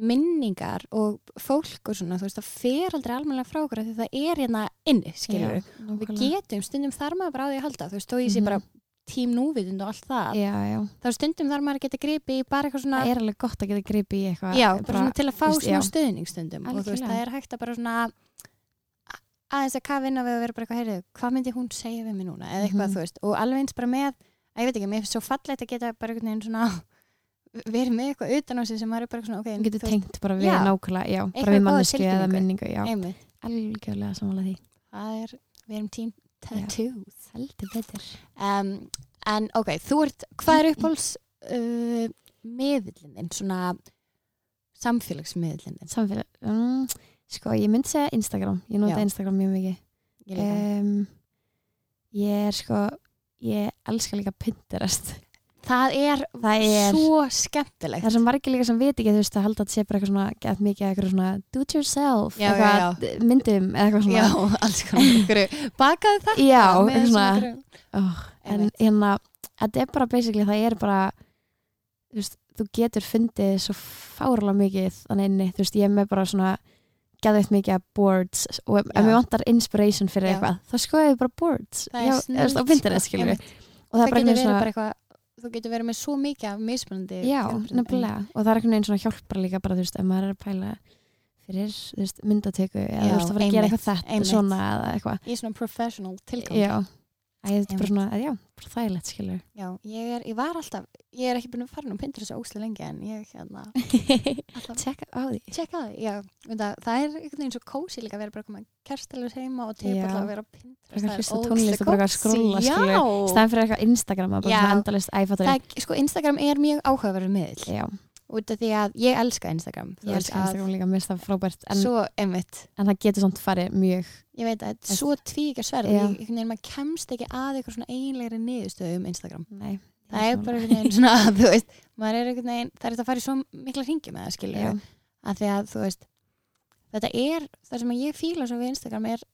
[SPEAKER 1] minningar og fólk og svona, þú veist, það fer aldrei almennilega frá okkur af því það er hérna inni, skilur
[SPEAKER 2] Já,
[SPEAKER 1] við.
[SPEAKER 2] nákvæmlega.
[SPEAKER 1] getum, stundum þar maður bara á því að halda, þú veist, þó ég sé
[SPEAKER 2] Mhm.
[SPEAKER 1] bara tím núvitund og allt það,
[SPEAKER 2] já, já,
[SPEAKER 1] þá stundum þar maður að geta gripið í bara eitthvað svona,
[SPEAKER 2] það er alveg gott að geta gripið í eitthvað
[SPEAKER 1] já, bara, svona til að fá
[SPEAKER 2] þú veist,
[SPEAKER 1] svona
[SPEAKER 2] já.
[SPEAKER 1] stöðning stundum og þú veist,
[SPEAKER 2] Algjörlega.
[SPEAKER 1] það er hægt að bara svona a- aðeins að kafa inn á við að vera bara eitthvað, heyrðu, hvað myndi hún segja við mig núna eða eitthvað,
[SPEAKER 2] Mhm.
[SPEAKER 1] þú veist, og alveg eins bara með að ég veit ekki, mér finnst svo fallegt að geta bara einhvern veginn svona verið með eitthvað utan á sig sem maður er bara svona, ok,
[SPEAKER 2] Þú getur
[SPEAKER 1] veist,
[SPEAKER 2] tengt bara við
[SPEAKER 1] Já.
[SPEAKER 2] nákvæmlega, já, bara
[SPEAKER 1] Eitthvað
[SPEAKER 2] við
[SPEAKER 1] góða
[SPEAKER 2] mannesku eða
[SPEAKER 1] tilfinningu.
[SPEAKER 2] minningu, já,
[SPEAKER 1] einmitt,
[SPEAKER 2] algjörlega samanlega því.
[SPEAKER 1] það er, við erum tím tattoos
[SPEAKER 2] Heldur betur.
[SPEAKER 1] um, en ok, þú ert, hvað er uppáls uh, miðlinn þinn, svona samfélagsmiðlinn þinn?
[SPEAKER 2] Samfélag, um, sko, ég myndi segja Instagram, ég nota
[SPEAKER 1] Já.
[SPEAKER 2] Instagram mjög mikið.
[SPEAKER 1] Ég líka.
[SPEAKER 2] Um, ég er sko, ég elska líka Pinterest.
[SPEAKER 1] það er
[SPEAKER 2] Það er,
[SPEAKER 1] svo
[SPEAKER 2] það
[SPEAKER 1] skemmtilegt
[SPEAKER 2] er svo margir líka sem veit ekki, þú veist, að halda að sé bara eitthvað svona, gett mikið að eitthvað svona, do it yourself,
[SPEAKER 1] Já, já,
[SPEAKER 2] eitthvað, myndum, eða eitthvað svona.
[SPEAKER 1] Já, alls konar ykkur bakaði það
[SPEAKER 2] Já,
[SPEAKER 1] með
[SPEAKER 2] eitthvað svona,
[SPEAKER 1] einhverju-
[SPEAKER 2] oh, en
[SPEAKER 1] Einmitt.
[SPEAKER 2] hérna, þetta er bara basically, það er bara þú, veist, þú getur fundið svo fárlega mikið þannig inni, þú veist, ég er með bara svona geðveitt mikið af boards og ef
[SPEAKER 1] Já.
[SPEAKER 2] ef mér vantar inspiration fyrir
[SPEAKER 1] Já.
[SPEAKER 2] eitthvað, þá skoðum við bara boards
[SPEAKER 1] Það er
[SPEAKER 2] Já,
[SPEAKER 1] snilld,
[SPEAKER 2] þú veist, á Pinterest,
[SPEAKER 1] sko,
[SPEAKER 2] skilur
[SPEAKER 1] einmitt.
[SPEAKER 2] við og það,
[SPEAKER 1] það
[SPEAKER 2] er bara
[SPEAKER 1] getur verið
[SPEAKER 2] einhvern veginn svona
[SPEAKER 1] bara eitthvað þú getur verið með svo mikið af mismunandi
[SPEAKER 2] Já,
[SPEAKER 1] fjölbreytni.
[SPEAKER 2] nefnilega, og það er einhvern veginn svona hjálpar líka bara, þú veist, ef maður er að pæla fyrir, þú veist, myndatöku eða
[SPEAKER 1] Já,
[SPEAKER 2] þú veist, að fara að gera
[SPEAKER 1] einmitt,
[SPEAKER 2] eitthvað þetta,
[SPEAKER 1] einmitt.
[SPEAKER 2] svona eða eitthvað
[SPEAKER 1] í svona professional tilgang
[SPEAKER 2] Já, Æ, þetta er
[SPEAKER 1] Einmitt.
[SPEAKER 2] bara svona, já, bara þægilegt, skilur
[SPEAKER 1] Já, ég, er, ég var alltaf, ég er ekki búin að fara nú Pinterest óslega lengi en ég hérna
[SPEAKER 2] við
[SPEAKER 1] alltaf
[SPEAKER 2] Tjekka á því
[SPEAKER 1] tjekka það, já, það, það er einhvern veginn svo kósi líka að vera bara að koma kerstaljus heima og
[SPEAKER 2] Já.
[SPEAKER 1] teipa alltaf að vera á Pinterest,
[SPEAKER 2] Bara
[SPEAKER 1] það er
[SPEAKER 2] hlusta á
[SPEAKER 1] ógeðslega
[SPEAKER 2] tónlist og bara eitthvað
[SPEAKER 1] kósí.
[SPEAKER 2] skrolla, skilur.
[SPEAKER 1] Já,
[SPEAKER 2] staðan fyrir eitthvað Instagram að bara
[SPEAKER 1] Já.
[SPEAKER 2] svona endalist æfattur
[SPEAKER 1] það, er- sko Instagram er mjög áhugaverður miðl
[SPEAKER 2] já,
[SPEAKER 1] út af því að ég elska Instagram þú
[SPEAKER 2] Ég
[SPEAKER 1] veist,
[SPEAKER 2] elska Instagram líka, mér finnst það frábært
[SPEAKER 1] að,
[SPEAKER 2] en,
[SPEAKER 1] svo einmitt,
[SPEAKER 2] en það getur samt farið mjög
[SPEAKER 1] ég veit að þetta er svo tvíkja sverð
[SPEAKER 2] Já.
[SPEAKER 1] ég, einhvern veginn, maður kemst ekki að eitthvað svona einlegri niðurstöðu um Instagram
[SPEAKER 2] Nei, ég
[SPEAKER 1] það er
[SPEAKER 2] sammála.
[SPEAKER 1] bara einhvern veginn svona að þú veist maður er einhvern veginn, það er þetta að fara í svo mikla hringi með það skilur
[SPEAKER 2] Já,
[SPEAKER 1] að því að þú veist þetta er, það sem ég fíla svo við Instagram er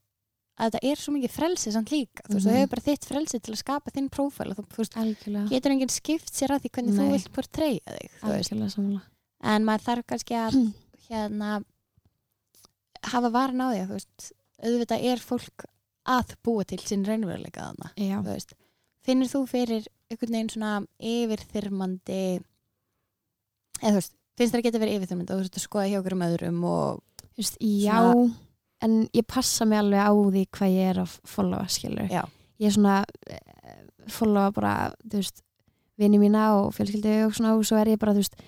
[SPEAKER 1] að þetta er svo mikið frelsi samt líka, þú veist, þú
[SPEAKER 2] Mhm.
[SPEAKER 1] hefur bara þitt frelsi til að skapa þinn prófæl og þú, þú veist,
[SPEAKER 2] algjörlega,
[SPEAKER 1] getur enginn skipt sér að því hvernig þú
[SPEAKER 2] Nei.
[SPEAKER 1] vilt portreyja þig, þú veist
[SPEAKER 2] algjörlega sammála
[SPEAKER 1] en maður þarf kannski að hérna hafa varan á því að þú veist auðvitað er fólk að búa til sinn raunveruleika þarna
[SPEAKER 2] Já,
[SPEAKER 1] þú veist, finnir þú fyrir einhvern veginn svona yfirþyrmandi eða þú veist, finnst þér að geta verið yfirþyrmandi og þú veist að skoða hjá okkur um öðrum og
[SPEAKER 2] Þú veist, já en ég passa mig alveg á því hvað ég er að followa, skilur
[SPEAKER 1] Já.
[SPEAKER 2] Ég er svona eh, followa bara, þú veist vini mína og fjölskyldi og svona og svo er ég bara, þú veist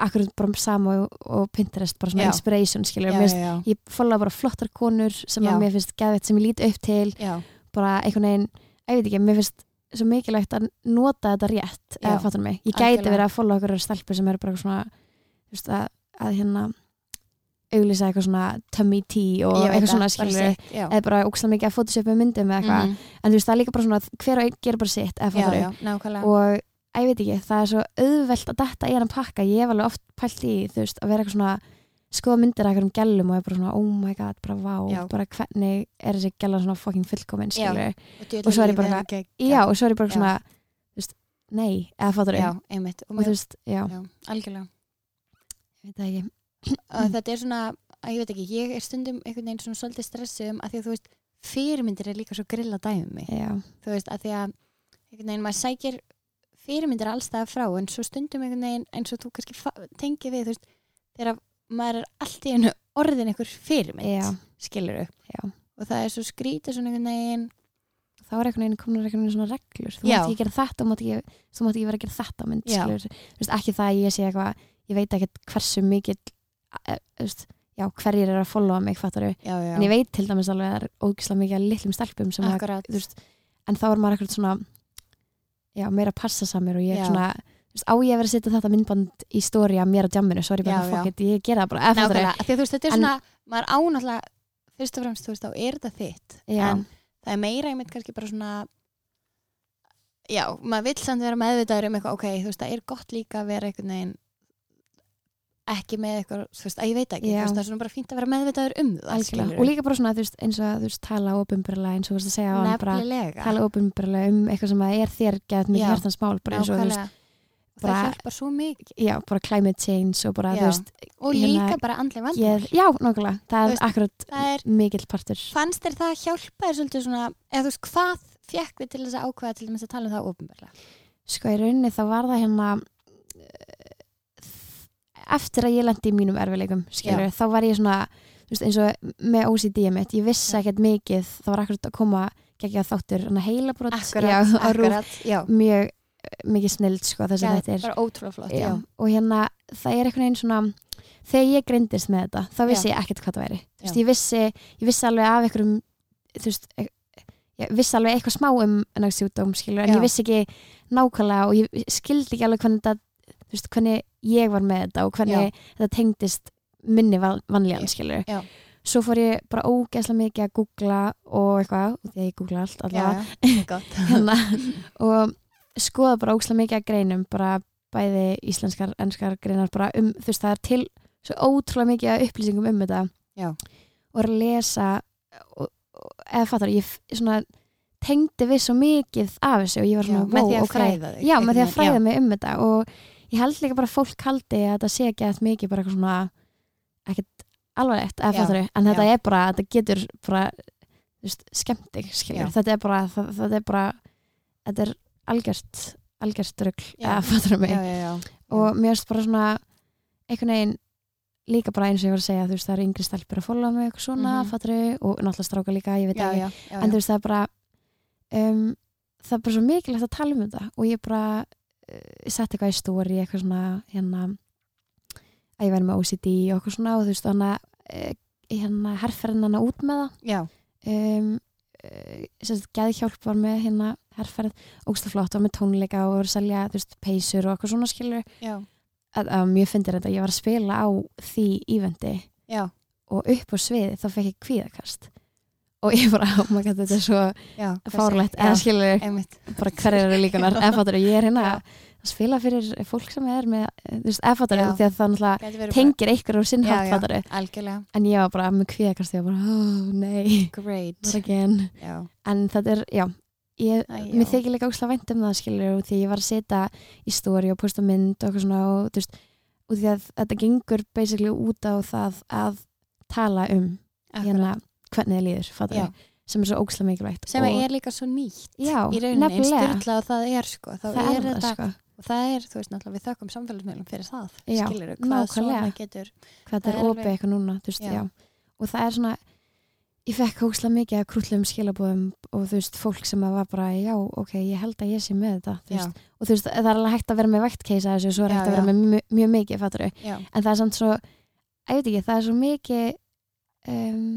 [SPEAKER 2] akkur bara sama og, og Pinterest bara svona
[SPEAKER 1] Já.
[SPEAKER 2] inspiration,
[SPEAKER 1] já,
[SPEAKER 2] skilur Mér
[SPEAKER 1] já, já,
[SPEAKER 2] finnst- Ég followa bara flottar konur sem
[SPEAKER 1] Já.
[SPEAKER 2] að mér finnst geðvett sem ég lít upp til
[SPEAKER 1] já,
[SPEAKER 2] bara einhvern veginn, ég veit ekki, mér finnst svo mikilvægt að nota þetta rétt
[SPEAKER 1] Já,
[SPEAKER 2] eða fattur mig, ég
[SPEAKER 1] algjörlega.
[SPEAKER 2] gæti verið að follow okkur stelpur sem eru bara eitthvað svona þú veist, að, að hérna auglýsa eitthvað svona tummy tea og
[SPEAKER 1] Ég veit
[SPEAKER 2] eitthvað
[SPEAKER 1] það,
[SPEAKER 2] svona
[SPEAKER 1] bara
[SPEAKER 2] skilur
[SPEAKER 1] sitt, já.
[SPEAKER 2] eða bara ógstlega mikið að photoshopu myndum eða eitthvað,
[SPEAKER 1] Mhm.
[SPEAKER 2] en þú veist það er líka bara svona að hver og einn gerir bara sitt eða
[SPEAKER 1] já,
[SPEAKER 2] fattur
[SPEAKER 1] já, nákvæmlega
[SPEAKER 2] og að ég veit ekki, það er svo auðvelt að detta í hann pakka, ég hef alveg oft pælt í því, þú veist, að vera eitthvað svona skoða myndir af einhverjum gælum og er bara svona oh my god, bara vá,
[SPEAKER 1] Já.
[SPEAKER 2] bara hvernig er þessi gæla svona fucking fullkomin,
[SPEAKER 1] Já.
[SPEAKER 2] skilur
[SPEAKER 1] djöfull
[SPEAKER 2] og svo er ég
[SPEAKER 1] lífið
[SPEAKER 2] bara
[SPEAKER 1] geggjað.
[SPEAKER 2] já, og svo er ég bara
[SPEAKER 1] Já.
[SPEAKER 2] svona þú veist, nei, eða fattur
[SPEAKER 1] já, einmitt, og
[SPEAKER 2] og þú
[SPEAKER 1] mér,
[SPEAKER 2] veist, já,
[SPEAKER 1] já, algjörlega
[SPEAKER 2] ég veit það ekki Mm.
[SPEAKER 1] og þetta er svona, að ég veit ekki, ég er stundum einhvern veginn svona svolítið stressuð um að því að þú veist, fyrirmyndir er líka svo grilla dæmi um
[SPEAKER 2] já,
[SPEAKER 1] þú veist, að því að einhvern veginn maður sækir fyrirmyndir allstað frá en svo stundum einhvern veginn eins og þú kannski fa- tengir við, þú veist, þegar maður er allt í einu orðin einhver fyrirmynd
[SPEAKER 2] já,
[SPEAKER 1] skilur
[SPEAKER 2] Já.
[SPEAKER 1] og það er svo skrítið svona einhvern veginn
[SPEAKER 2] þá er einhvern veginn komin einhvern veginn svona reglur þú
[SPEAKER 1] Já.
[SPEAKER 2] mátt ekki gera þetta, og mátt ekki, þú mátt ekki vera að gera þetta mynd,
[SPEAKER 1] Já.
[SPEAKER 2] skilur, þú veist, ekki það að ég sé eitthvað, ég veit ekkert hversu mikið eh, þú veist, já, hverjir er að followa mig, fattur
[SPEAKER 1] já, já,
[SPEAKER 2] en ég veit til dæmis alveg að það er ógislega mikið að litlum stelpum sem að,
[SPEAKER 1] akkurat
[SPEAKER 2] þú veist, en þá er maður ekkert svona já, meira að passa samir og ég
[SPEAKER 1] Já.
[SPEAKER 2] er svona, þú veist, á ég að vera að setja þetta myndband í stóri að mér á djamminu, svo er ég bara,
[SPEAKER 1] Já,
[SPEAKER 2] fuck
[SPEAKER 1] já.
[SPEAKER 2] it, ég gera það bara, eða fattur
[SPEAKER 1] nákvæmlega, af því að þú veist, þetta er
[SPEAKER 2] En-
[SPEAKER 1] svona maður ánáttúrulega, fyrst og fremst, þú veist, þá er þetta þitt
[SPEAKER 2] Já.
[SPEAKER 1] en það er meira einmitt kannski bara svona já, maður vill samt vera meðvitaður um eitthvað, ok, þú veist, það er gott líka að vera einhvern veginn ekki með eitthvað, þú veist, að ég veit ekki
[SPEAKER 2] Já.
[SPEAKER 1] þú veist, það er svona bara fínt að vera meðvitaður um það
[SPEAKER 2] algjörlega,
[SPEAKER 1] skilurðu.
[SPEAKER 2] og líka bara svona þú veist, eins og að þú veist, tala ofinbjörlega eins og þú veist að segja á hann bara
[SPEAKER 1] nefnilega
[SPEAKER 2] tala ofinbjörlega um eitthvað sem að er þér gett
[SPEAKER 1] Já.
[SPEAKER 2] mikið hjartans mál, bara eins og þú veist
[SPEAKER 1] nákvæmlega og það
[SPEAKER 2] bara-
[SPEAKER 1] hjálpar svo mikið
[SPEAKER 2] já, bara climate change og bara
[SPEAKER 1] Já.
[SPEAKER 2] þú veist,
[SPEAKER 1] og
[SPEAKER 2] Hérna,
[SPEAKER 1] líka bara andlega vandamál
[SPEAKER 2] ég, já, nákvæmlega
[SPEAKER 1] Þú
[SPEAKER 2] það
[SPEAKER 1] veist,
[SPEAKER 2] er akkurat
[SPEAKER 1] það er,
[SPEAKER 2] mikill partur
[SPEAKER 1] fannst þér það hjálpa þér svolítið svona, eða þú veist, hvað fekk við til þess að ákveða til þess að tala um það ofinbarlega
[SPEAKER 2] sko í rauninni þá var það hérna eh, eftir að ég lendi í mínum erfileikum skilur, þá var ég svona þú veist, eins og með OCD mitt, ég vissi
[SPEAKER 1] Já.
[SPEAKER 2] ekkert mikið, það var akkurat að koma geggjað þáttur, hann að heila brot
[SPEAKER 1] akkurat, akkurat, já,
[SPEAKER 2] mjög eh, mikið snild sko þess að
[SPEAKER 1] já
[SPEAKER 2] þetta er
[SPEAKER 1] bara ótrúlega flott, já,
[SPEAKER 2] já. og hérna það er einhvern veginn svona þegar ég greindist með þetta þá vissi ég ekkert hvað það væri Þú veist,
[SPEAKER 1] Já.
[SPEAKER 2] ég, vissi, ég vissi alveg af einhverjum þú veist, e- ég vissi alveg eitthvað smá um hennar sjúdóm skilur en
[SPEAKER 1] Já.
[SPEAKER 2] ég vissi ekki nákvæmlega og ég skildi ekki alveg hvernig, þetta, þú veist, hvernig ég var með þetta og hvernig þetta tengdist minni van, vanlíðan skilur
[SPEAKER 1] Já.
[SPEAKER 2] svo fór ég bara ógeðslega mikið að googla og eitthvað, og því að ég googla allt
[SPEAKER 1] já,
[SPEAKER 2] allavega
[SPEAKER 1] já, gott
[SPEAKER 2] hérna, og skoða bara ógslag mikið að greinum bara bæði íslenskar, ennskar greinar bara um, þú veist, það er til svo ótrúlega mikið af upplýsingum um þetta
[SPEAKER 1] Já.
[SPEAKER 2] og er að lesa og, og, eða fattar, ég f- svona tengdi við svo mikið af þessu og ég var
[SPEAKER 1] já,
[SPEAKER 2] svona,
[SPEAKER 1] með því að
[SPEAKER 2] ok,
[SPEAKER 1] fræða þig
[SPEAKER 2] já, með því að
[SPEAKER 1] einhvern
[SPEAKER 2] fræða
[SPEAKER 1] veginn,
[SPEAKER 2] mig um þetta og ég held líka bara að fólk haldi að þetta sé ekki eftir mikið bara eitthvað svona ekkert alvarlegt, eða
[SPEAKER 1] Já,
[SPEAKER 2] fattur en þetta
[SPEAKER 1] já.
[SPEAKER 2] er bara, þetta getur bara þú veist, skemmt þig, skiljur
[SPEAKER 1] Já.
[SPEAKER 2] þetta er bara, það, þetta er bara þetta er algjört, algjört rugl
[SPEAKER 1] Já.
[SPEAKER 2] eða fattur mig
[SPEAKER 1] já, já, já, já,
[SPEAKER 2] og mér finnst bara svona einhvern veginn líka bara eins og ég var að segja þú veist, það eru yngri stelpur að fóla mig eitthvað svona, mm
[SPEAKER 1] Mhm.
[SPEAKER 2] og náttúrulega stráka líka, ég veit
[SPEAKER 1] já,
[SPEAKER 2] ekki
[SPEAKER 1] já, já, já.
[SPEAKER 2] en þú veist það er bara um, það er bara svo mikilvægt að tala um þetta og ég bara uh, sett eitthvað í stóri eitthvað svona hérna að ég væri með OCD og eitthvað svona og þú veist hana uh, hérna herrferðin hana út með
[SPEAKER 1] já,
[SPEAKER 2] það um, uh, sem sagt geðhjálp var með hérna herrferð ógstaflott var með tónleika og var að selja þú veist peysur og eitthvað svona skilur
[SPEAKER 1] já,
[SPEAKER 2] að, að mjög fyndir þetta, ég var að spila á því ívendi
[SPEAKER 1] já,
[SPEAKER 2] og upp á sviði þá fekk ég kvíðakast og ég bara, oh my god, þetta er svo
[SPEAKER 1] já
[SPEAKER 2] fárlegt,
[SPEAKER 1] já,
[SPEAKER 2] eða skilur
[SPEAKER 1] einmitt,
[SPEAKER 2] bara hverjar eru líkunar, eða fattur ég er hérna
[SPEAKER 1] Já.
[SPEAKER 2] að spila fyrir fólk sem er með, þú veist, eða fattur
[SPEAKER 1] Já.
[SPEAKER 2] því að það náttúrulega
[SPEAKER 1] gæti verið
[SPEAKER 2] tengir einhver úr sinn
[SPEAKER 1] Já,
[SPEAKER 2] hátt
[SPEAKER 1] já.
[SPEAKER 2] fattari
[SPEAKER 1] bara algjörlega,
[SPEAKER 2] en ég var bara með kvíðakast ég var bara, oh nei,
[SPEAKER 1] great
[SPEAKER 2] not again
[SPEAKER 1] já,
[SPEAKER 2] en þetta er, já ég,
[SPEAKER 1] Æ, já.
[SPEAKER 2] mér þykir líka óslega vænt um það skilur og því ég var að setja í stóri og posta mynd og eitthvað svona og þú veist og því að þetta gengur basically út á það að tala um
[SPEAKER 1] akkurat
[SPEAKER 2] hérna hvernig þið líður fattari,
[SPEAKER 1] Já.
[SPEAKER 2] sem er svo óslega mikilvægt
[SPEAKER 1] sem
[SPEAKER 2] og,
[SPEAKER 1] er líka svo nýtt í
[SPEAKER 2] já,
[SPEAKER 1] rauninni, einn
[SPEAKER 2] nefnilega,
[SPEAKER 1] styrla og það er sko, þá
[SPEAKER 2] það er það
[SPEAKER 1] þetta
[SPEAKER 2] sko
[SPEAKER 1] og það er, þú veist náttúrulega, við þökkum samfélagsmiðlum fyrir það,
[SPEAKER 2] Já,
[SPEAKER 1] skilur hvað
[SPEAKER 2] nákvæmlega.
[SPEAKER 1] svona getur
[SPEAKER 2] hvað
[SPEAKER 1] Það
[SPEAKER 2] það
[SPEAKER 1] er
[SPEAKER 2] er opið
[SPEAKER 1] alveg-
[SPEAKER 2] eitthvað núna þú veist,
[SPEAKER 1] Já.
[SPEAKER 2] já. og það er svona ég fekk hókslega mikið að krúllum skilabóðum og þú veist, fólk sem að var bara já, ok, ég held að ég sé með þetta þú
[SPEAKER 1] já,
[SPEAKER 2] veist, og þú veist, það er alveg hægt að vera með vægt keisa þessu, svo er
[SPEAKER 1] Já,
[SPEAKER 2] hægt að
[SPEAKER 1] já.
[SPEAKER 2] vera með mjög, mjög mikið fatturu,
[SPEAKER 1] já,
[SPEAKER 2] en það er samt svo ég veit ekki, það er svo mikið um,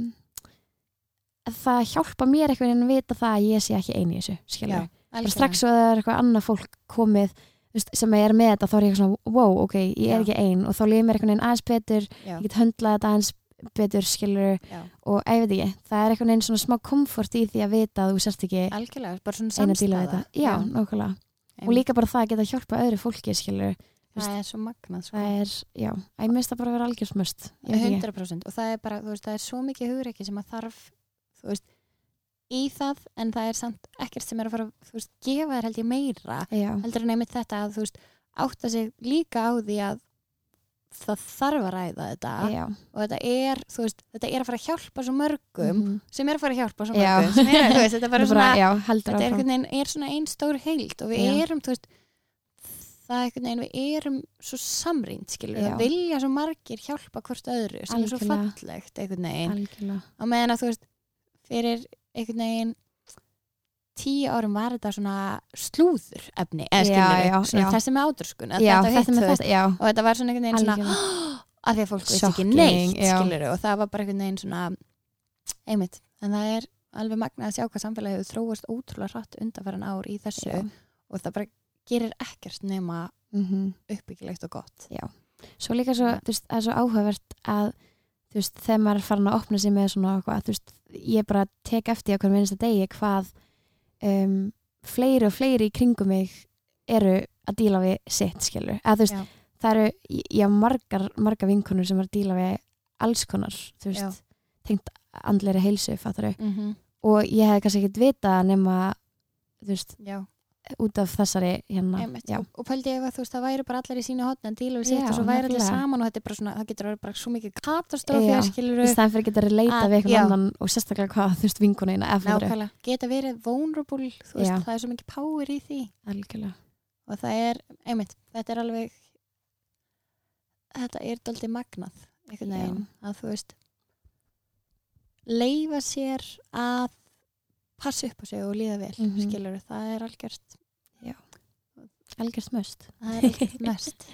[SPEAKER 2] að það hjálpa mér eitthvað en að vita það að ég sé ekki einu í þessu
[SPEAKER 1] já
[SPEAKER 2] skilabóð, bara strax svo að það er eitthvað annað fólk komið þú veist, sem er með þetta, þá er ég eitthvað svona wow, ok, ég er
[SPEAKER 1] Já.
[SPEAKER 2] ekki ein og þá líður mér eitthvað einn aðeins betur
[SPEAKER 1] já,
[SPEAKER 2] ég get höndlað þetta aðeins betur skilur
[SPEAKER 1] já,
[SPEAKER 2] og ég veit ekki, það er eitthvað einn svona smá komfort í því að vita að þú sérst ekki
[SPEAKER 1] algjörlega, bara svona
[SPEAKER 2] eina bíla
[SPEAKER 1] samstæða
[SPEAKER 2] við þetta, já, nákvæmlega og líka bara það að geta hjálpa öðru fólki skilur,
[SPEAKER 1] það er svo magnað sko.
[SPEAKER 2] það er, já ég minnst það bara að vera algjörsmöst
[SPEAKER 1] 100% og það er bara, þú veist, það er svo mikið hugreiki sem að þarf, þú veist í það, en það er samt ekkert sem er að fara, þú veist, gefa þér held ég meira
[SPEAKER 2] já,
[SPEAKER 1] heldur en einmitt þetta að, þú veist átta sig líka á því að það þarf að ræða þetta
[SPEAKER 2] já,
[SPEAKER 1] og þetta er, þú veist, þetta er að fara að hjálpa svo mörgum,
[SPEAKER 2] mhm.
[SPEAKER 1] sem er að fara að hjálpa svo
[SPEAKER 2] Já.
[SPEAKER 1] mörgum, sem er, þú veist, þetta er
[SPEAKER 2] Bara
[SPEAKER 1] bara svona
[SPEAKER 2] já, heldur
[SPEAKER 1] þetta er,
[SPEAKER 2] áfram
[SPEAKER 1] einhvern veginn, er svona einn stór heild og við
[SPEAKER 2] Já.
[SPEAKER 1] erum, þú veist það er einhvern veginn, við erum svo samrýnd skilur,
[SPEAKER 2] Já.
[SPEAKER 1] það vilja svo margir hjálpa hvort öðru sem er svo
[SPEAKER 2] Algjörlega.
[SPEAKER 1] fallegt einhvern veginn,
[SPEAKER 2] algjörlega,
[SPEAKER 1] á meðan að þú veist fyrir einhvern veginn tíu árum var þetta svona slúður efni, eða
[SPEAKER 2] Já,
[SPEAKER 1] skilur
[SPEAKER 2] já, já.
[SPEAKER 1] svona þessi með átröskun
[SPEAKER 2] já,
[SPEAKER 1] þetta og hitt,
[SPEAKER 2] þetta
[SPEAKER 1] þú
[SPEAKER 2] með
[SPEAKER 1] veist,
[SPEAKER 2] þetta, já
[SPEAKER 1] og þetta var svona einhvern veginn svona
[SPEAKER 2] algjörlega,
[SPEAKER 1] að því að fólk veist ekki
[SPEAKER 2] Shocking,
[SPEAKER 1] neitt
[SPEAKER 2] já.
[SPEAKER 1] skilur, og það var bara einhvern veginn svona einmitt, en það er alveg magnað að sjá hvað samfélagið hefur þróast ótrúlega hratt undanfæran ár í þessu
[SPEAKER 2] já,
[SPEAKER 1] og það bara gerir ekkert nema
[SPEAKER 2] mhm
[SPEAKER 1] uppbyggilegt og gott
[SPEAKER 2] svo líka svo,
[SPEAKER 1] Þannig að-
[SPEAKER 2] þú veist, það er svo áhugavert að þú veist, þegar maður er farin að opna sig með svona okkur, þú veist, ég bara tek eftir okkur minnsta degi hvað um, fleiri og fleiri í kringum mig eru að díla við sitt, skilur, að þú veist,
[SPEAKER 1] Já.
[SPEAKER 2] það eru ég ég á margar, margar vinkonur sem eru að díla við alls konar, þú veist tengt andleiri heilsu, fattaru
[SPEAKER 1] mm -hmm.
[SPEAKER 2] og ég hefði kannski ekkert vitað nema þú veist,
[SPEAKER 1] já,
[SPEAKER 2] út af þessari hérna,
[SPEAKER 1] einmitt,
[SPEAKER 2] já,
[SPEAKER 1] og, og pældi ef að þú veist það væri bara allar í sínu hotn en díla við sitt
[SPEAKER 2] Já,
[SPEAKER 1] og svo væri allir
[SPEAKER 2] nefnilega.
[SPEAKER 1] saman og þetta er bara svona, það getur að vera bara svo mikið
[SPEAKER 2] Já.
[SPEAKER 1] katastrófið skilur
[SPEAKER 2] í staðan fyrir að geta að leita
[SPEAKER 1] Að-
[SPEAKER 2] við eitthvað
[SPEAKER 1] já.
[SPEAKER 2] annan og sérstaklega hvað þú veist vinkunina eða fattaru
[SPEAKER 1] nákvæmlega, geta verið vulnerable þú veist,
[SPEAKER 2] Já.
[SPEAKER 1] það er svo mikið power í því
[SPEAKER 2] Algjörlega.
[SPEAKER 1] og það er, einmitt, þetta er alveg þetta er doldið magnað einhvern
[SPEAKER 2] Já.
[SPEAKER 1] veginn, að þú veist leifa sér að passa upp á sig og líða vel mm
[SPEAKER 2] Mhm.
[SPEAKER 1] það er algjört
[SPEAKER 2] Algjörst möst.
[SPEAKER 1] það er algjört mest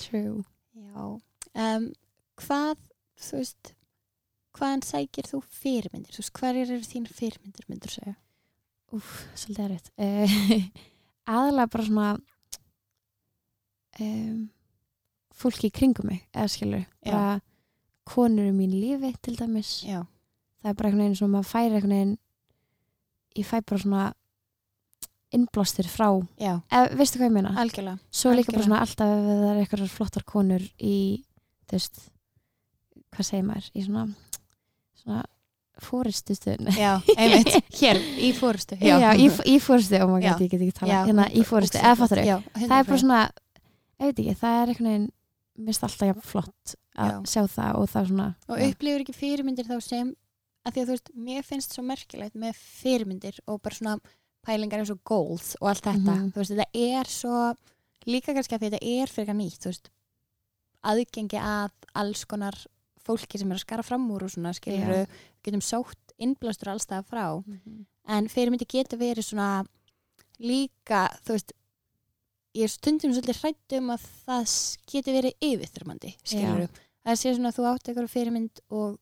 [SPEAKER 2] True.
[SPEAKER 1] já um, hvað, þú veist hvaðan sækir þú fyrirmyndir þú veist, hverjir eru þín fyrirmyndir myndur segja
[SPEAKER 2] Úf, svolítið erfitt. Uh, aðalega bara svona um, fólki í kringum mig, eða skilur.
[SPEAKER 1] Já.
[SPEAKER 2] Bara konur í mín lífi til dæmis.
[SPEAKER 1] já,
[SPEAKER 2] Það er bara einhvern veginn svona, maður fær einhvern veginn, ég fæ bara svona innblástur frá,
[SPEAKER 1] já,
[SPEAKER 2] eða veistu hvað ég meina?
[SPEAKER 1] algjörlega
[SPEAKER 2] Svo líka bara
[SPEAKER 1] algjörlega.
[SPEAKER 2] svona alltaf ef það er eitthvað flottar konur í, þú veist, hvað segir maður, í svona, svona fóristustöðun
[SPEAKER 1] já, einmitt, hér, í fórustu
[SPEAKER 2] já, í, í fórustu, oh my
[SPEAKER 1] Já.
[SPEAKER 2] god, ég get ekki tala
[SPEAKER 1] Já,
[SPEAKER 2] hérna í fórustu, eða fattur
[SPEAKER 1] Já,
[SPEAKER 2] það er bara svona, ég veit ekki, það er einhvern veginn mist alltaf jafn flott að
[SPEAKER 1] Já.
[SPEAKER 2] sjá það og það er svona
[SPEAKER 1] og upplifur ekki fyrirmyndir þá sem að því að þú veist, mér finnst svo merkilegt með fyrirmyndir og bara svona pælingar eins og goals og allt þetta
[SPEAKER 2] Mhm.
[SPEAKER 1] þú veist, þetta er svo líka kannski að því þetta er fyrir nýtt þú veist, aðgengi að alls konar fólki sem er að skara fram úr og svona skilur við getum sótt innblastur allstað frá en fyrirmyndir getur verið svona líka, þú veist ég er stundum svolítið hrætt um að það s- getur verið yfirþyrmandi skilur við það sé svona að þú átt eitthvað fyrirmynd og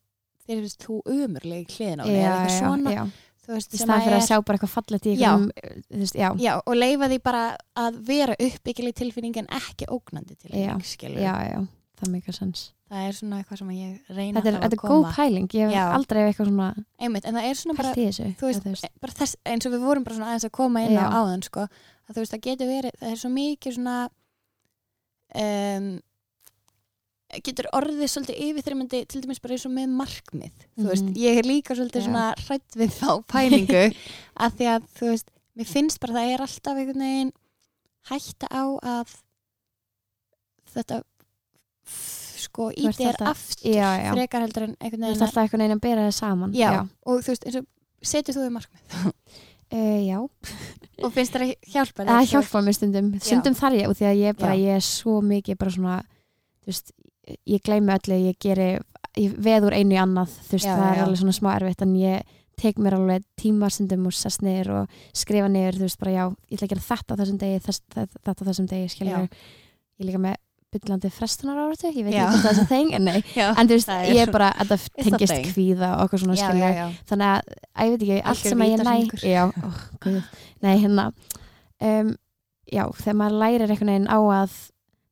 [SPEAKER 1] þeir finnst þú umurleg hliðin á því
[SPEAKER 2] já,
[SPEAKER 1] eða eitthvað
[SPEAKER 2] já,
[SPEAKER 1] svona,
[SPEAKER 2] já,
[SPEAKER 1] þú veist, sem
[SPEAKER 2] í staðan
[SPEAKER 1] að
[SPEAKER 2] fyrir að
[SPEAKER 1] er-
[SPEAKER 2] sjá bara eitthvað fallet í
[SPEAKER 1] Já.
[SPEAKER 2] einhverjum, eh, þú veist, já, já,
[SPEAKER 1] Já, og leifa því bara að vera uppbyggileg tilfinning en ekki ógnandi tilfinning, skilur.
[SPEAKER 2] já, já, það meikar sens.
[SPEAKER 1] Það er svona eitthvað sem ég reyna
[SPEAKER 2] Þetta er,
[SPEAKER 1] þá
[SPEAKER 2] þetta
[SPEAKER 1] að
[SPEAKER 2] er góð
[SPEAKER 1] koma.
[SPEAKER 2] pæling, ég hef
[SPEAKER 1] Já.
[SPEAKER 2] aldrei hef eitthvað svona
[SPEAKER 1] Einmitt, en það er svona bara,
[SPEAKER 2] pælt í þessu.
[SPEAKER 1] þú veist,
[SPEAKER 2] eða þú veist.
[SPEAKER 1] bara þess, eins og við vorum bara svona aðeins að koma inn á
[SPEAKER 2] Já.
[SPEAKER 1] áðan, sko, að þú veist, það getur verið, það er svo mikið svona, um, getur orðið svolítið yfirþreymandi, til dæmis bara eins og með markmið, þú veist,
[SPEAKER 2] Mhm.
[SPEAKER 1] ég er líka svolítið
[SPEAKER 2] Já.
[SPEAKER 1] svona hrætt við þá pælingu, að því að, þú veist, mér finnst bara það er alltaf einhvern veginn hætta á að þetta, f- sko,
[SPEAKER 2] Þú ert
[SPEAKER 1] íti er
[SPEAKER 2] alltaf-
[SPEAKER 1] aftur,
[SPEAKER 2] Já, já.
[SPEAKER 1] frekar heldur en einhvern
[SPEAKER 2] Þú
[SPEAKER 1] veginn
[SPEAKER 2] veist alltaf einhvern veginn að bera það saman.
[SPEAKER 1] Já, og þú veist, eins og setur þú þau markmið
[SPEAKER 2] Eh, já.
[SPEAKER 1] og finnst það hjálpa
[SPEAKER 2] það hjálpar mér stundum stundum þar ég, og því að ég er bara,
[SPEAKER 1] Já.
[SPEAKER 2] ég er svo mikið bara svona, þú veist ég gleymi öllu, ég geri ég veð úr einu í annað, þú veist,
[SPEAKER 1] Já,
[SPEAKER 2] það er
[SPEAKER 1] já.
[SPEAKER 2] alveg svona smá erfitt, en ég tek mér alveg tíma stundum og sest niður og skrifa niður, þú veist, bara já, ég ætla að gera þetta á þessum degi, þess, þess, þetta á þessum degi, skiljum ég er líka með byllandi frestunar áratu, ég veit
[SPEAKER 1] Já.
[SPEAKER 2] ekki hvort það er þeng, en nei,
[SPEAKER 1] Já,
[SPEAKER 2] en þú veist,
[SPEAKER 1] Það er
[SPEAKER 2] ég er bara, þetta
[SPEAKER 1] a
[SPEAKER 2] tengist
[SPEAKER 1] thing.
[SPEAKER 2] kvíða og okkur svona,
[SPEAKER 1] já,
[SPEAKER 2] skiljum
[SPEAKER 1] já, já.
[SPEAKER 2] þannig að, að ég veit ekki, allt
[SPEAKER 1] Algjör
[SPEAKER 2] sem að ég
[SPEAKER 1] vítahringur.
[SPEAKER 2] næ já, ó, guð, nei, hérna um, já, þegar maður lærir einhvern veginn á að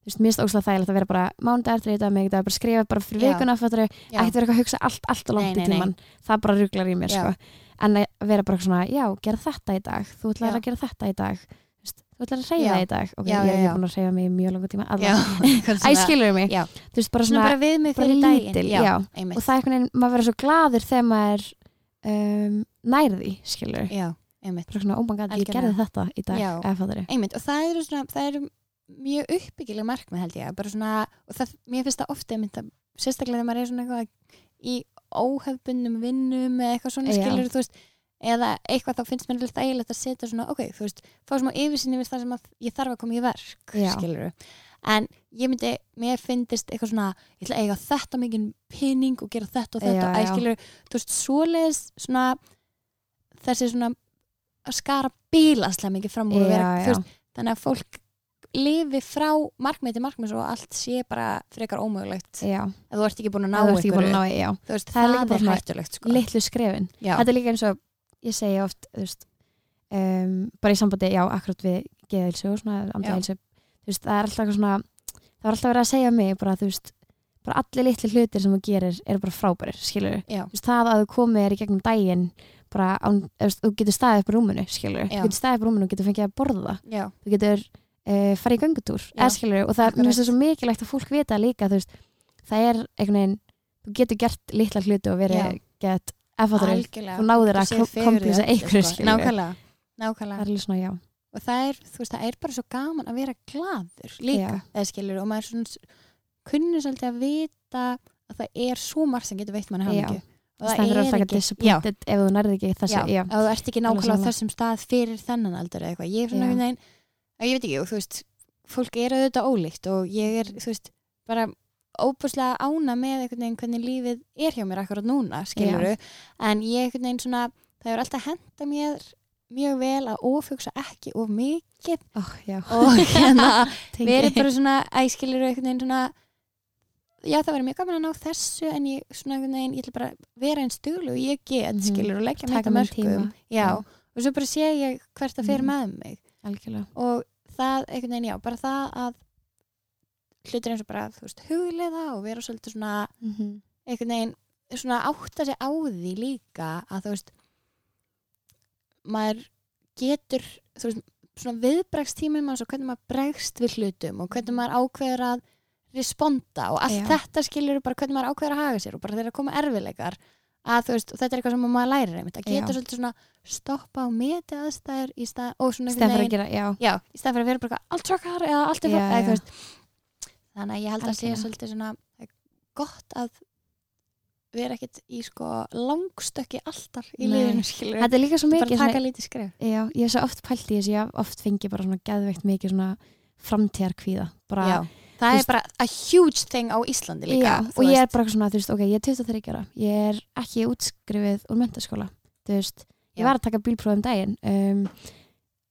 [SPEAKER 2] þú veist, mér finnst óslega þægilegt að vera bara mánudagar, þriðdagar, miðvikudagar, bara skrifa bara fyrir
[SPEAKER 1] Já.
[SPEAKER 2] vikuna, fattur þau,
[SPEAKER 1] Já.
[SPEAKER 2] ekkert vera eitthvað að hugsa allt, allt og
[SPEAKER 1] Nei,
[SPEAKER 2] langt
[SPEAKER 1] nei,
[SPEAKER 2] í
[SPEAKER 1] nei.
[SPEAKER 2] tíman það bara ruglar í mér,
[SPEAKER 1] Já.
[SPEAKER 2] sko en að vera bara eitthvað svona, já, gera þetta í dag þú ætlar
[SPEAKER 1] Já.
[SPEAKER 2] að gera þetta í dag þú veist, þú ætlar að reyða
[SPEAKER 1] Já.
[SPEAKER 2] í dag, ok,
[SPEAKER 1] Já,
[SPEAKER 2] ég
[SPEAKER 1] já,
[SPEAKER 2] er
[SPEAKER 1] já.
[SPEAKER 2] ekki búin að reyða mig í mjög langu tíma,
[SPEAKER 1] Já,
[SPEAKER 2] alveg
[SPEAKER 1] eitthvað
[SPEAKER 2] æ,
[SPEAKER 1] svona-
[SPEAKER 2] skilur mig,
[SPEAKER 1] Já.
[SPEAKER 2] þú veist, bara
[SPEAKER 1] svona
[SPEAKER 2] svona,
[SPEAKER 1] bara við mig
[SPEAKER 2] bara
[SPEAKER 1] fyrir daginn
[SPEAKER 2] lítil,
[SPEAKER 1] já,
[SPEAKER 2] já. og
[SPEAKER 1] einmitt
[SPEAKER 2] það er einhvern veginn, maður verður svo gladur þegar maður um, nærði, skilur
[SPEAKER 1] já, einmitt.
[SPEAKER 2] bara svona, oh my god, ég
[SPEAKER 1] Algjörlega.
[SPEAKER 2] gerði þetta í dag
[SPEAKER 1] Já.
[SPEAKER 2] eða fattari
[SPEAKER 1] einmitt og það eru svona það eru mjög uppbyggileg markmið held ég bara svona, og það, mér finnst það ofta einmitt að sérstaklega þegar maður er svona eitthvað í óhefbundum vinnum eða eitthvað svona
[SPEAKER 2] Já.
[SPEAKER 1] skilur þú veist eða eitthvað þá finnst mér alveg þægilegt að setja svona, ok, þú veist, fá smá yfirsinni við það sem að ég þarf að koma í verk
[SPEAKER 2] Já.
[SPEAKER 1] skilur en ég myndi, mér finnist eitthvað svona, ég ætla að eiga þetta mikið pening og gera þetta og þetta og
[SPEAKER 2] Já, já.
[SPEAKER 1] æskilur, þú veist, svoleiðis svona, þessi svona að skara bílaslega mikið fram og vera, þú veist, þannig að fólk lifi frá markmið til markmið og allt sé bara frekar ómögulegt
[SPEAKER 2] já,
[SPEAKER 1] að þú ert ekki búin að ná
[SPEAKER 2] það er ekki búin að ná
[SPEAKER 1] einhverju.
[SPEAKER 2] í, já,
[SPEAKER 1] Þú veist,
[SPEAKER 2] Það er
[SPEAKER 1] það,
[SPEAKER 2] líka bara
[SPEAKER 1] er
[SPEAKER 2] svona
[SPEAKER 1] hættulegt sko.
[SPEAKER 2] litlu skrefin
[SPEAKER 1] já,
[SPEAKER 2] þetta er líka eins og, ég segi oft þú veist, um, bara í sambandi já, akkurat við geðilsu og svona
[SPEAKER 1] Já.
[SPEAKER 2] andahilsu, þú veist, það er alltaf eitthvað svona það var alltaf verið að segja um mig, bara þú veist bara allir litlu hlutir sem þú gerir eru bara frábærir, skilur
[SPEAKER 1] já,
[SPEAKER 2] þú veist, það að þú komið er í gegnum daginn bara, án, þú veist, þú getur staðið upp á rúminu skilur,
[SPEAKER 1] Já.
[SPEAKER 2] þú getur staðið upp á rúminu og getur fengið að borða
[SPEAKER 1] já,
[SPEAKER 2] þú getur uh, farið í göngutúr
[SPEAKER 1] Já,
[SPEAKER 2] eða skilur, og það,
[SPEAKER 1] akkurat.
[SPEAKER 2] mér finnst það svo mikilvægt að fólk vita líka, þú veist, það er einhvern veginn, þú getur gert litla hluti og verið
[SPEAKER 1] Já.
[SPEAKER 2] gett effatur
[SPEAKER 1] algjörlega
[SPEAKER 2] þú náður
[SPEAKER 1] Þú
[SPEAKER 2] að
[SPEAKER 1] séð
[SPEAKER 2] kom-
[SPEAKER 1] fegurð í
[SPEAKER 2] komplýsa
[SPEAKER 1] öllu,
[SPEAKER 2] einhverju
[SPEAKER 1] sko.
[SPEAKER 2] skilur það
[SPEAKER 1] nákvæmlega, nákvæmlega.
[SPEAKER 2] er alveg svona, já,
[SPEAKER 1] og það er, þú veist, það er bara svo gaman að vera gladur líka,
[SPEAKER 2] Já.
[SPEAKER 1] eða skilur og maður svona s- kunnur svolítið að vita að það er svo margt sem getur veitt mann
[SPEAKER 2] Já.
[SPEAKER 1] hafningu og
[SPEAKER 2] það er alltaf ekki
[SPEAKER 1] já,
[SPEAKER 2] disappointed ef þú nærði ekki þessi, já,
[SPEAKER 1] já, að þú ert ekki nákvæmlega á
[SPEAKER 2] sammála.
[SPEAKER 1] þessum stað fyrir þennan aldur eða eitthvað, ég er
[SPEAKER 2] Já.
[SPEAKER 1] svona einhvern veginn að ég veit ekki, og þú veist, fólk er auðvitað ólíkt og ég er, þú veist, bara óbúslega ána með einhvern veginn hvernig lífið er hjá mér akkurat núna skiluru, en ég einhvern veginn svona það er alltaf henda mér mjög vel að ofugsa ekki of mikið
[SPEAKER 2] oh, já.
[SPEAKER 1] og hérna
[SPEAKER 2] Tengi.
[SPEAKER 1] verið bara svona æskilur einhvern veginn svona já það verið mjög gaman að ná þessu en ég svona einhvern veginn, ég ætla bara að vera einn stuglu og ég get
[SPEAKER 2] Mhm.
[SPEAKER 1] skilur og leggja mér
[SPEAKER 2] taka
[SPEAKER 1] þetta
[SPEAKER 2] mér
[SPEAKER 1] mörgum
[SPEAKER 2] tíma,
[SPEAKER 1] já, og svo bara sé ég hvert það fer
[SPEAKER 2] Mhm.
[SPEAKER 1] með mig
[SPEAKER 2] algjörlega
[SPEAKER 1] og það einhvern veginn já, bara það að hlutir eins og bara, þú veist, hugleiða og vera svolítið svona
[SPEAKER 2] mm -hmm.
[SPEAKER 1] einhvern veginn svona átta sig á því líka að þú veist maður getur þú veist, svona viðbreggstímum og hvernig maður bregst við hlutum og hvernig maður ákveður að responda og allt
[SPEAKER 2] Já.
[SPEAKER 1] þetta skilur bara hvernig maður ákveður að haga sér og bara þeirra koma erfileikar að þú veist, og þetta er eitthvað sem maður lærir einmitt, að geta
[SPEAKER 2] Já.
[SPEAKER 1] svolítið svona stoppa og meti aðstæður í stað, og svona einhvern
[SPEAKER 2] stefn fyrir
[SPEAKER 1] veginn-
[SPEAKER 2] að gera, já,
[SPEAKER 1] já, í stað fyrir að vera bara eitthvað allt sjokkar eða allt er
[SPEAKER 2] Já,
[SPEAKER 1] flott eða þú
[SPEAKER 2] já.
[SPEAKER 1] veist. þannig að ég held að sé
[SPEAKER 2] Algjörlega.
[SPEAKER 1] svolítið svona það er gott að vera ekkit í sko langstökki alltaf í
[SPEAKER 2] Nei.
[SPEAKER 1] liðinu skilur
[SPEAKER 2] þetta er líka svo
[SPEAKER 1] bara
[SPEAKER 2] mikið
[SPEAKER 1] taka
[SPEAKER 2] svona-
[SPEAKER 1] lítið skref
[SPEAKER 2] Já, ég hef svo oft pælt í þessu, ég hef oft fengið bara svona geðveikt mikið svona framtíðarkvíða. Bara,
[SPEAKER 1] já. það
[SPEAKER 2] Þú
[SPEAKER 1] er bara a huge thing á Íslandi líka
[SPEAKER 2] Já,
[SPEAKER 1] þú
[SPEAKER 2] og ég er
[SPEAKER 1] veist.
[SPEAKER 2] bara svona, þú veist, ok, ég er 23 ára, ég er ekki útskrifið úr mentaskóla, þú veist, ég
[SPEAKER 1] Já.
[SPEAKER 2] var að taka bílprófum um, daginn. Um,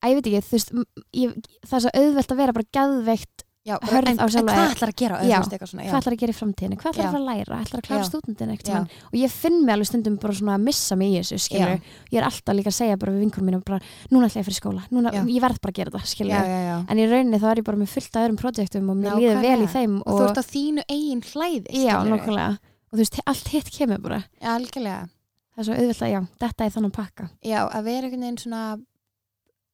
[SPEAKER 2] að ég veit ekki, þú veist, m- ég, það er svo auðvelt að vera bara geðveikt
[SPEAKER 1] já, bara-
[SPEAKER 2] hörð
[SPEAKER 1] en,
[SPEAKER 2] á sjálfa
[SPEAKER 1] en hvað
[SPEAKER 2] þig.
[SPEAKER 1] ætlar að gera
[SPEAKER 2] Já.
[SPEAKER 1] eða þú veist eitthvað svona, já,
[SPEAKER 2] hvað ætlar að gera í framtíðinu, hvað ætlar
[SPEAKER 1] Já.
[SPEAKER 2] að fara að læra ætlar að klára
[SPEAKER 1] Já.
[SPEAKER 2] stúdendin
[SPEAKER 1] já,
[SPEAKER 2] eitthvað og ég finn mig alveg stundum bara svona að missa mig í þessu skilur, ég er alltaf líka að segja bara við vinkunum mínum bara, núna ætla ég að fyrir skóla núna,
[SPEAKER 1] Já.
[SPEAKER 2] ég verð bara að gera þetta, skilur
[SPEAKER 1] já, já, já.
[SPEAKER 2] en í rauninni þá er ég bara með fullt af öðrum projektum og mér líður vel í
[SPEAKER 1] Nákvæmlega.
[SPEAKER 2] þeim
[SPEAKER 1] og þú ert á þínu eigin hlæði
[SPEAKER 2] já,
[SPEAKER 1] skilurðu.
[SPEAKER 2] nokkulega, og þú veist, allt hitt kemur bara
[SPEAKER 1] algjörlega,
[SPEAKER 2] það er svo auðvitað, já, þetta er þannig að pakka
[SPEAKER 1] já, að vera einhvern veginn svona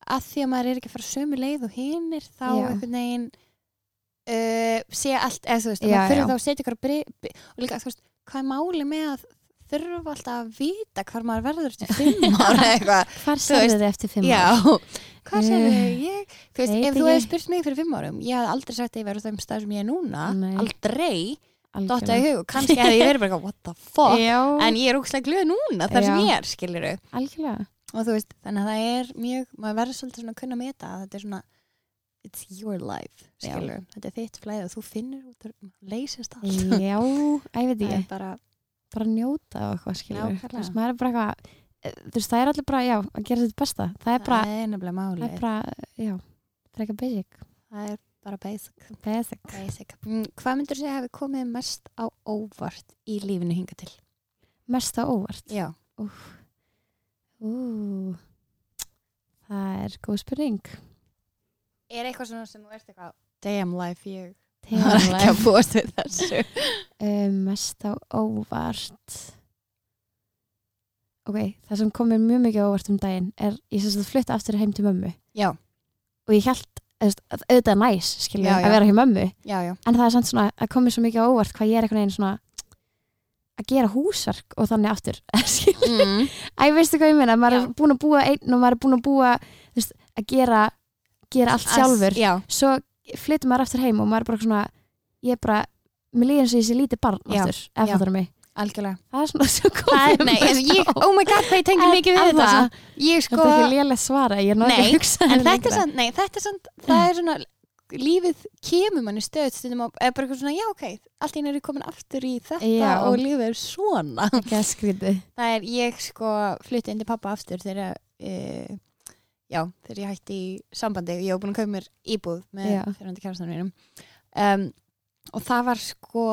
[SPEAKER 1] að því að maður er ekki að fara sömu leið og hinnir þá
[SPEAKER 2] Já.
[SPEAKER 1] einhvern veginn uh, sé allt, eða þú veist,
[SPEAKER 2] Já,
[SPEAKER 1] já, maður
[SPEAKER 2] já.
[SPEAKER 1] þurfa þá að setja ykkur að bri, bri, og líka, þú veist, hvað er máli með að þurfa alltaf að vita hvar maður verður til fimm ára eða eitthvað
[SPEAKER 2] hvar
[SPEAKER 1] Þú
[SPEAKER 2] serðu
[SPEAKER 1] veist,
[SPEAKER 2] þið eftir fimm ár?
[SPEAKER 1] já, hvað séu
[SPEAKER 2] Eh,
[SPEAKER 1] ég þú veist,
[SPEAKER 2] veit
[SPEAKER 1] ef þú
[SPEAKER 2] ekki.
[SPEAKER 1] hefði spurt mig fyrir fimm árum ég hafði aldrei sagt að ég verður á þeim stað sem ég er núna
[SPEAKER 2] Nei.
[SPEAKER 1] aldrei, dotta í
[SPEAKER 2] Algjörlega.
[SPEAKER 1] hug og kannski hefði ég verið bara eitthvað, what the fuck
[SPEAKER 2] já,
[SPEAKER 1] en ég er ógslag glöð núna þar sem
[SPEAKER 2] Já.
[SPEAKER 1] ég er, skilur
[SPEAKER 2] algjörlega
[SPEAKER 1] og þú veist, þannig að það er mjög maður verður svolítið svona að kunna meta að þetta er svona it's your life, skilur þetta er þitt flæð og þú finnur út og leysist allt
[SPEAKER 2] já, að ég veit
[SPEAKER 1] það
[SPEAKER 2] ég
[SPEAKER 1] er bara,
[SPEAKER 2] bara njóta og eitthvað skilur
[SPEAKER 1] Nákvæmlega.
[SPEAKER 2] þú veist, maður er bara eitthvað eh, þú veist, það er allir bara, já, að gera sitt besta það er bara,
[SPEAKER 1] það er nefnilega
[SPEAKER 2] það
[SPEAKER 1] máli
[SPEAKER 2] er bara, já freka basic,
[SPEAKER 1] það er bara basic,
[SPEAKER 2] basic.
[SPEAKER 1] basic. Mm, hvað myndur segja hefur komið mest á óvart í lífinu hinga til?
[SPEAKER 2] mest á óvart
[SPEAKER 1] já,
[SPEAKER 2] Ú, það er góð spurning
[SPEAKER 1] er eitthvað svona sem þú ert eitthvað damn life, ég var ekki
[SPEAKER 2] Tegjanlega.
[SPEAKER 1] að búast við þessu
[SPEAKER 2] um, mest á óvart ok, það sem kom mér mjög mikið á óvart um daginn er, ég sem sagt flutta aftur heim til mömmu
[SPEAKER 1] já,
[SPEAKER 2] og ég held, þú veist, að auðvitað er næs skilur,
[SPEAKER 1] Já, já.
[SPEAKER 2] að vera hjá mömmu
[SPEAKER 1] já, já,
[SPEAKER 2] en það er samt svona að komið svo mikið á óvart hvað ég er einhvern veginn svona að gera húsverk og þannig aftur Skil-
[SPEAKER 1] mm.
[SPEAKER 2] Æ, veistu hvað ég meina, maður
[SPEAKER 1] Já.
[SPEAKER 2] er búin að búa einn og maður er búin að búa þú veist, að gera, gera allt sjálfur
[SPEAKER 1] já,
[SPEAKER 2] svo flyttum maður aftur heim og maður er bara svona ég er bara, mér líður eins og ég sé lítið barn
[SPEAKER 1] Já.
[SPEAKER 2] aftur, ef
[SPEAKER 1] Já.
[SPEAKER 2] það er mig
[SPEAKER 1] algjörlega
[SPEAKER 2] það er svona svo
[SPEAKER 1] það,
[SPEAKER 2] komið
[SPEAKER 1] nei, en ég, oh my god, hvað ég tengi
[SPEAKER 2] um En-
[SPEAKER 1] mikið við
[SPEAKER 2] en það
[SPEAKER 1] þetta
[SPEAKER 2] er
[SPEAKER 1] ég
[SPEAKER 2] þetta
[SPEAKER 1] sko,
[SPEAKER 2] er ekki lélega svara, ég er náttúrulega
[SPEAKER 1] Nei,
[SPEAKER 2] ekki að hugsa
[SPEAKER 1] en
[SPEAKER 2] um þetta
[SPEAKER 1] þetta er
[SPEAKER 2] lengra.
[SPEAKER 1] samt, nei, þetta er samt það er svona, lífið kemur manni stöð stundum á, eða bara eitthvað svona, já, ok allt í einu er ég komin aftur í þetta
[SPEAKER 2] Já.
[SPEAKER 1] og lífið er svona
[SPEAKER 2] ekki að skrítið
[SPEAKER 1] það er, ég sko, flutti inn til pappa aftur þegar uh, já, þegar ég hætti í sambandi ég var búin að kaupa mér íbúð með
[SPEAKER 2] Já.
[SPEAKER 1] fyrirhandi kærastanum mínum um, og það var sko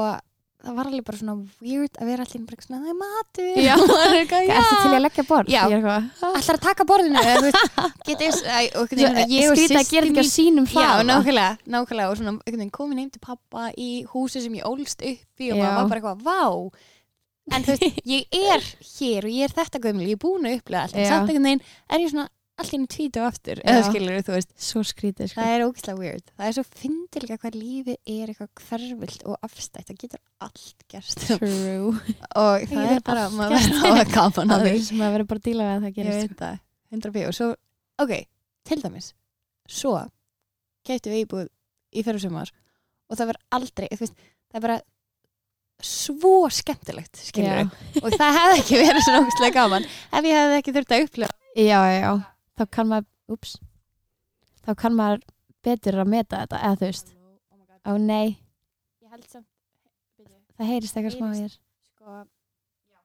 [SPEAKER 1] það var alveg bara svona weird að vera allir bara eitthvað svona, það er matur
[SPEAKER 2] Já.
[SPEAKER 1] Og maður er eitthvað,
[SPEAKER 2] Ertu til í að leggja borð?
[SPEAKER 1] Já.
[SPEAKER 2] Ég er eitthvað,
[SPEAKER 1] allar að taka borðinu eða, þú veist, get ég, æ, og, einhvern veginn svona, ég og
[SPEAKER 2] skrítið að
[SPEAKER 1] systir
[SPEAKER 2] gera þetta ekki á sínum
[SPEAKER 1] já,
[SPEAKER 2] hraða.
[SPEAKER 1] nákvæmlega, nákvæmlega og svona einhvern veginn komin heim til pappa í húsi sem ég ólst upp í og
[SPEAKER 2] Já.
[SPEAKER 1] maður var bara eitthvað, vá en þú veist, ég er hér og ég er þetta gömul, ég er búin að upplega allt en
[SPEAKER 2] Já.
[SPEAKER 1] samt einhvern veginn er ég svona allt hérna tvítu aftur, eða
[SPEAKER 2] Já.
[SPEAKER 1] skilur þú veist
[SPEAKER 2] Svo skrítið, sko.
[SPEAKER 1] það er ógislega weird, það er svo fyndilega hvað lífið er eitthvað hverfilt og afstætt það getur allt gerst
[SPEAKER 2] True.
[SPEAKER 1] og það
[SPEAKER 2] getur
[SPEAKER 1] er bara,
[SPEAKER 2] allt
[SPEAKER 1] maður
[SPEAKER 2] gerst.
[SPEAKER 1] verður að hafa gaman að
[SPEAKER 2] Það
[SPEAKER 1] því
[SPEAKER 2] er sem að vera bara að díla við að það
[SPEAKER 1] ég
[SPEAKER 2] gerist. sko.
[SPEAKER 1] veit það, 100 og svo, ok, til dæmis svo getum við íbúð í fyrir sumar og það verður aldrei, þú veist, það er bara svo skemmtilegt skilur
[SPEAKER 2] Já.
[SPEAKER 1] og það hefði ekki verið svona ógustlega gaman ef ég hefði ekki þurft að upplega
[SPEAKER 2] Já, já, já. Þá kann maður, ups, þá kann maður betur að meta þetta, eða þú veist. Ó nei,
[SPEAKER 1] ég held samt byrju,
[SPEAKER 2] það heyrist eitthvað smá hér.
[SPEAKER 1] sko já.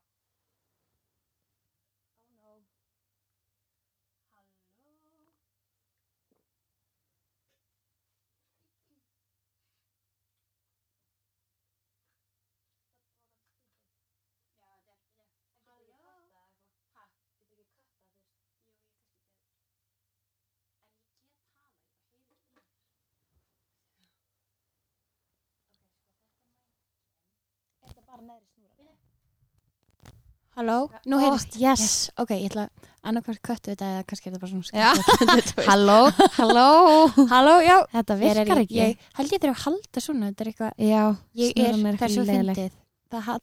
[SPEAKER 1] halló, nú heyrist
[SPEAKER 2] Ó, Yes.
[SPEAKER 1] ok, ég ætla að annarkvært köttu þetta eða kannski er þetta bara svona
[SPEAKER 2] Já.
[SPEAKER 1] skemmt
[SPEAKER 2] Halló, halló.
[SPEAKER 1] halló, já
[SPEAKER 2] Þetta
[SPEAKER 1] Hér er
[SPEAKER 2] virkar
[SPEAKER 1] ég,
[SPEAKER 2] ekki.
[SPEAKER 1] ég held ég þurfa að halda svona þetta er eitthvað
[SPEAKER 2] Já,
[SPEAKER 1] ég er,
[SPEAKER 2] snurran
[SPEAKER 1] það er
[SPEAKER 2] eitthvað
[SPEAKER 1] svo
[SPEAKER 2] leiðileg.
[SPEAKER 1] fyndið það, hal-